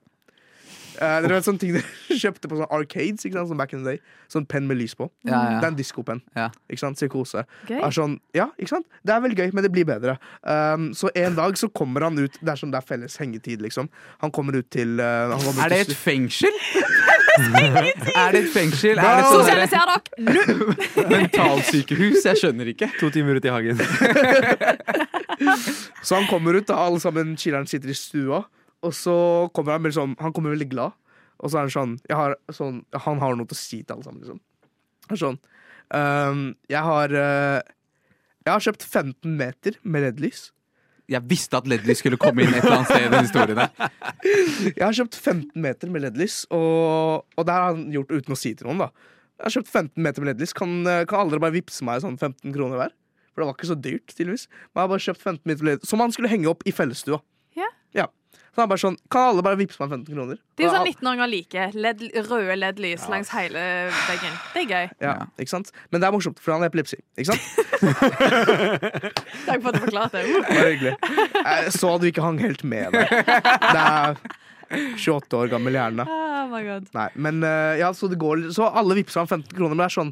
[SPEAKER 5] Eh, dere vet sånne ting dere kjøpte på sånne arcades ikke sant? Sånn back in the day. Sånn penn med lys på.
[SPEAKER 3] Ja, ja.
[SPEAKER 5] Det er en diskopenn.
[SPEAKER 3] Ja.
[SPEAKER 5] Ikke sant? Psykose.
[SPEAKER 8] Gøy.
[SPEAKER 5] Er sånn, ja, ikke sant? Det er veldig gøy, men det blir bedre. Um, så en dag så kommer han ut Det er sånn det er felles hengetid, liksom. Han kommer ut til uh, han kommer ut
[SPEAKER 3] Er det et
[SPEAKER 5] til-
[SPEAKER 3] fengsel? er det et fengsel? Er det sånn der-
[SPEAKER 11] Sosialiser dere!
[SPEAKER 3] mentalsykehus? Jeg skjønner ikke.
[SPEAKER 6] To timer ut i hagen.
[SPEAKER 5] Så han kommer ut, da alle sammen chiller'n sitter i stua, og så kommer han veldig sånn Han kommer veldig glad, og så er han sånn, jeg har, sånn Han har noe til å si til alle sammen, liksom. Han er sånn um, Jeg har uh, Jeg har kjøpt 15 meter med LED-lys.
[SPEAKER 3] Jeg visste at Ledley skulle komme inn et eller annet sted i den historien der.
[SPEAKER 5] Jeg har kjøpt 15 meter med LED-lys, og, og det har han gjort uten å si til noen. da Jeg har kjøpt 15 meter med LED-lys. Kan, kan alle bare vippse meg sånn 15 kroner hver? For det var ikke så dyrt, tydeligvis. Men jeg har bare kjøpt 15 meter med LED Som han skulle henge opp i fellesstua.
[SPEAKER 11] Ja.
[SPEAKER 5] Så han bare sånn Kan alle bare vippse meg 15 kroner?
[SPEAKER 11] Det er jo
[SPEAKER 5] Og
[SPEAKER 11] sånn
[SPEAKER 5] han-
[SPEAKER 11] 19-åringer liker. LED, røde LED-lys langs hele veggen. Det er gøy.
[SPEAKER 5] ja, ikke sant? Men det er morsomt, for han har epilepsi. Ikke sant?
[SPEAKER 11] Takk for at du forklarte det.
[SPEAKER 5] Bare hyggelig. Jeg så du ikke hang helt med der. Det er 28 år gammel hjerne.
[SPEAKER 11] Oh my god.
[SPEAKER 5] Nei, men eh, ja, så det går litt- Så alle vippser han 15 kroner, men det er sånn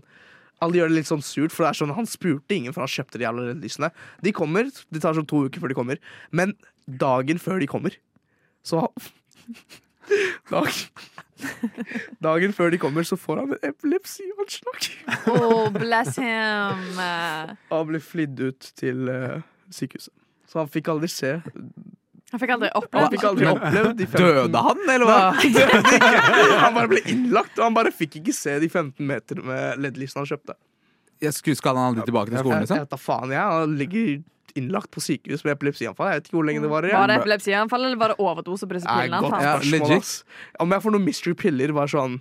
[SPEAKER 5] alle gjør det litt sånn surt, for det er sånn, han spurte ingen, for han kjøpte de jævla lysene. De kommer, det tar sånn to uker før de kommer, men dagen før de kommer, så Dag, Dagen før de kommer, så får han epilepsianslag.
[SPEAKER 11] Oh, bless him. Han
[SPEAKER 5] Og han ble flydd ut til eh, sykehuset. Så han fikk aldri se.
[SPEAKER 11] fikk aldri
[SPEAKER 5] Han fikk aldri
[SPEAKER 11] opplevd
[SPEAKER 5] opplevd de 15
[SPEAKER 3] Døde han, eller hva?
[SPEAKER 5] Nei, døde ikke. Han bare ble innlagt, og han bare fikk ikke se de 15 meter med LED-lysene han kjøpte.
[SPEAKER 3] Jeg skulle- Skal han aldri tilbake til
[SPEAKER 5] Jeg,
[SPEAKER 3] skolen,
[SPEAKER 5] jeg,
[SPEAKER 3] liksom?
[SPEAKER 5] vet da faen, jeg. Han ligger innlagt på sykehus med epilepsianfall. Jeg vet ikke hvor lenge det varer. jeg.
[SPEAKER 11] Var det epilepsianfall, eller var det overdose på disse
[SPEAKER 5] Nei,
[SPEAKER 11] pillene?
[SPEAKER 5] godt
[SPEAKER 11] han
[SPEAKER 3] Ja,
[SPEAKER 11] fant?
[SPEAKER 5] spørsmål,
[SPEAKER 3] legit.
[SPEAKER 5] ass. Om jeg får noen mystery-piller, bare sånn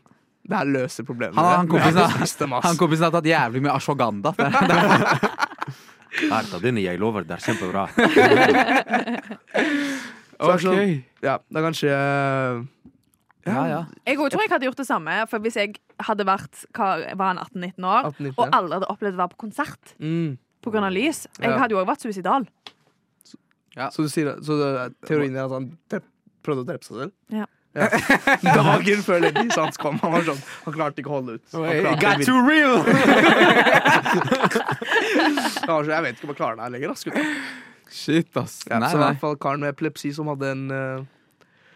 [SPEAKER 5] Det her løser problemene.
[SPEAKER 3] Han, han,
[SPEAKER 5] dine. Men jeg
[SPEAKER 3] kompisen,
[SPEAKER 5] må spise dem, ass.
[SPEAKER 3] han kompisen har tatt jævlig mye ashwagandha. Det, det,
[SPEAKER 6] Berta, denne jeg lover, det er kjempebra.
[SPEAKER 5] Så det er sånn- Ja, det eh, er kanskje
[SPEAKER 3] ja, ja.
[SPEAKER 11] Jeg tror jeg hadde gjort det samme, for hvis jeg hadde vært hva, var han 18-19 år,
[SPEAKER 5] 18-19,
[SPEAKER 11] og
[SPEAKER 5] ja.
[SPEAKER 11] aldri hadde opplevd å være på konsert
[SPEAKER 5] mm.
[SPEAKER 11] pga. lys Jeg
[SPEAKER 5] Ja.
[SPEAKER 11] hadde jo også vært suicidal.
[SPEAKER 5] Så, du sier, så det er teorien er at han drep, prøvde å drepe seg selv?
[SPEAKER 11] Ja.
[SPEAKER 5] Dagen før Lady Sands kom. Han var sånn, han klarte ikke å holde ut. Han klarte ikke å vinne.
[SPEAKER 6] real!
[SPEAKER 5] Han var sånn, jeg vet ikke om jeg klarer det her lenger. ass, gutta.
[SPEAKER 3] Shit, ass.
[SPEAKER 5] Ja,
[SPEAKER 3] Nei,
[SPEAKER 5] så i
[SPEAKER 3] nei.
[SPEAKER 5] hvert fall karen med epilepsi som hadde en eh,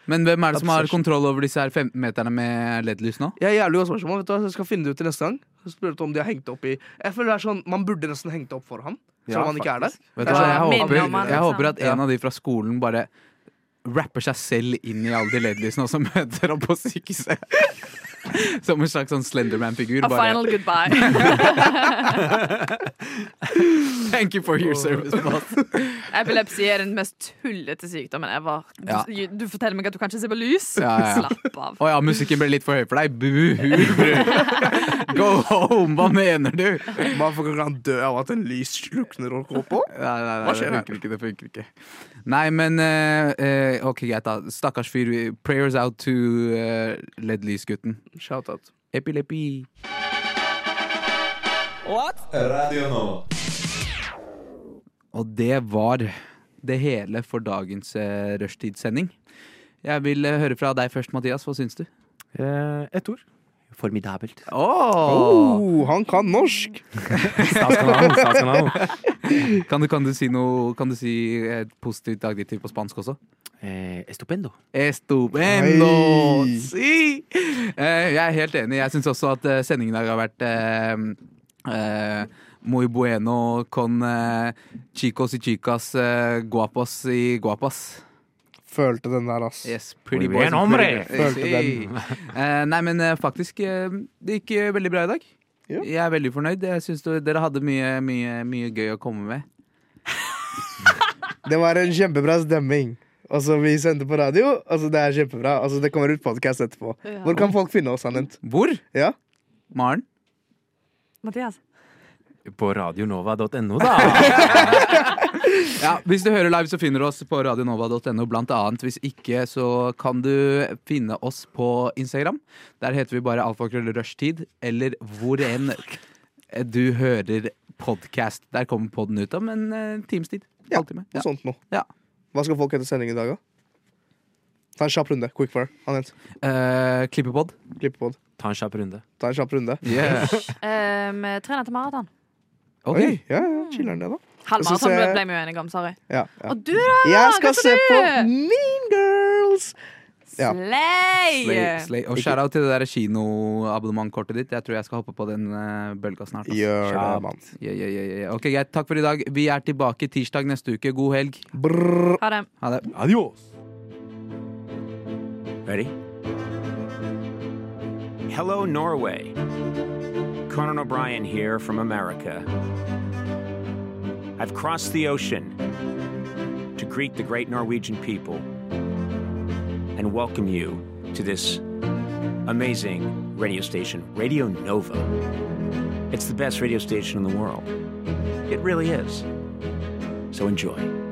[SPEAKER 3] Men hvem er det som har
[SPEAKER 5] Obsession.
[SPEAKER 3] kontroll over disse her 15 meterne med LED-lys nå?
[SPEAKER 5] Jeg er jævlig godt spørsmål, vet du hva, så jeg skal finne det ut til neste gang. Så spør du om de har hengt det opp i Jeg føler det er sånn, Man burde nesten hengt det opp for ham, selv
[SPEAKER 6] Ja,
[SPEAKER 5] om han ikke er der.
[SPEAKER 3] Vet
[SPEAKER 5] Det
[SPEAKER 3] du hva,
[SPEAKER 5] er sånn,
[SPEAKER 3] jeg
[SPEAKER 11] minner
[SPEAKER 3] håper,
[SPEAKER 11] om han,
[SPEAKER 3] jeg
[SPEAKER 11] liksom.
[SPEAKER 3] håper at en av de fra skolen bare rapper seg selv inn i alle de LED-lysene, og så møter han på sykehuset. Som en slags sånn Slenderman-figur.
[SPEAKER 11] A final
[SPEAKER 3] Bare
[SPEAKER 11] goodbye.
[SPEAKER 3] Thank you for
[SPEAKER 11] Oh."
[SPEAKER 3] your service, boss.
[SPEAKER 11] Epilepsi er den mest tullete sykdommen ever. Du,
[SPEAKER 3] Ja.
[SPEAKER 11] du forteller meg at du kan ikke se på lys?
[SPEAKER 3] Ja, ja, ja.
[SPEAKER 11] Slapp av.
[SPEAKER 3] Å ja, musikken ble litt for høy for deg. Buhu, bror. Go home, hva mener du?
[SPEAKER 5] Man får ikke dø av at en lys slukner og går på.
[SPEAKER 3] Nei, nei, nei,
[SPEAKER 5] Hva
[SPEAKER 3] det
[SPEAKER 5] skjer
[SPEAKER 3] funker ikke. det funker ikke Nei, men eh, eh, ok, greit, da. Stakkars fyr. vi- Prayers out to eh, LED-lysgutten.
[SPEAKER 5] Shout-out.
[SPEAKER 3] Epilepi. Og det var det hele for dagens eh, rushtidssending. Jeg vil eh, høre fra deg først, Mathias. Hva syns du?
[SPEAKER 6] Eh, Ett ord. Formidabelt.
[SPEAKER 5] Oh, han kan norsk!
[SPEAKER 6] Statskanal, statskanal.
[SPEAKER 3] Kan du, kan du si noe Kan du si et positivt adjektiv på spansk også?
[SPEAKER 6] Eh, estupendo.
[SPEAKER 3] Estupendo!
[SPEAKER 5] Hei.
[SPEAKER 3] Si! Eh, Jeg er helt enig. Jeg syns også at eh, sendingen i dag har vært eh, eh, Muy bueno con eh, chicos y chicas eh, guapos y guapas.
[SPEAKER 5] Følte den der, ass.
[SPEAKER 3] Yes, pretty
[SPEAKER 6] Muy bien,
[SPEAKER 3] and
[SPEAKER 6] hombre!
[SPEAKER 3] pretty girls.
[SPEAKER 5] Følte
[SPEAKER 3] Si. Eh, Nei, men eh, faktisk, eh, det gikk eh, veldig bra i dag.
[SPEAKER 5] Ja.
[SPEAKER 3] Jeg er veldig fornøyd. Jeg synes du- Dere hadde mye, mye, mye gøy å komme med.
[SPEAKER 5] Det var en kjempebra stemming. Altså, vi sendte på radio. Altså, det er kjempebra. Altså, det kommer ut podkast etterpå. Hvor kan folk finne oss, Anent?
[SPEAKER 3] Hvor?
[SPEAKER 5] Ja?
[SPEAKER 3] Maren?
[SPEAKER 11] Mathias.
[SPEAKER 6] På radionova.no, da.
[SPEAKER 3] Ja, hvis du hører live, så finner du oss på radionova.no blant annet. Hvis ikke, så kan du finne oss på Instagram. Der heter vi bare alfakrøll rushtid, eller hvor enn du hører podkast. Der kommer podden ut om en eh, times tid.
[SPEAKER 5] Ja,
[SPEAKER 3] Halvtime.
[SPEAKER 5] Noe
[SPEAKER 3] Ja.
[SPEAKER 5] sånt noe.
[SPEAKER 3] Ja.
[SPEAKER 5] Hva skal folk hete sending i dag, da? Ta en kjapp runde. Quick fire. Anent,
[SPEAKER 3] Eh, klippepod.
[SPEAKER 5] klippepod.
[SPEAKER 6] Ta en kjapp runde.
[SPEAKER 5] Ta en kjapp runde.
[SPEAKER 11] Um, Trener til maraton.
[SPEAKER 5] Oi, ja, ja, chiller'n det, da. Jeg
[SPEAKER 11] Halvmaraton
[SPEAKER 5] synes
[SPEAKER 11] ble
[SPEAKER 5] jeg-
[SPEAKER 11] ble vi jo enige om, sorry.
[SPEAKER 5] Ja, ja.
[SPEAKER 11] Og du, da?
[SPEAKER 5] Jeg skal
[SPEAKER 11] hva
[SPEAKER 5] se på
[SPEAKER 11] du?
[SPEAKER 5] Mean Girls! Ja.
[SPEAKER 11] Slay!
[SPEAKER 8] eh.
[SPEAKER 3] Slay, slay. Og shout-out til det der kinoabonnementkortet ditt. Jeg tror jeg skal hoppe på den eh, bølga snart. ass.
[SPEAKER 5] Gjør det, mann.
[SPEAKER 3] Ja, ja, ja, ja. Ok, greit. Takk for i dag. Vi er tilbake tirsdag neste uke. God helg.
[SPEAKER 5] Brrr.
[SPEAKER 11] Ha det.
[SPEAKER 3] Ha det.
[SPEAKER 6] Adios. Ready?
[SPEAKER 2] Hello, Norway. Conan O'Brien here from America. I've crossed the ocean to greet the great Norwegian people and welcome you to this amazing radio station, Radio Nova. It's the best radio station in the world. It really is. So enjoy.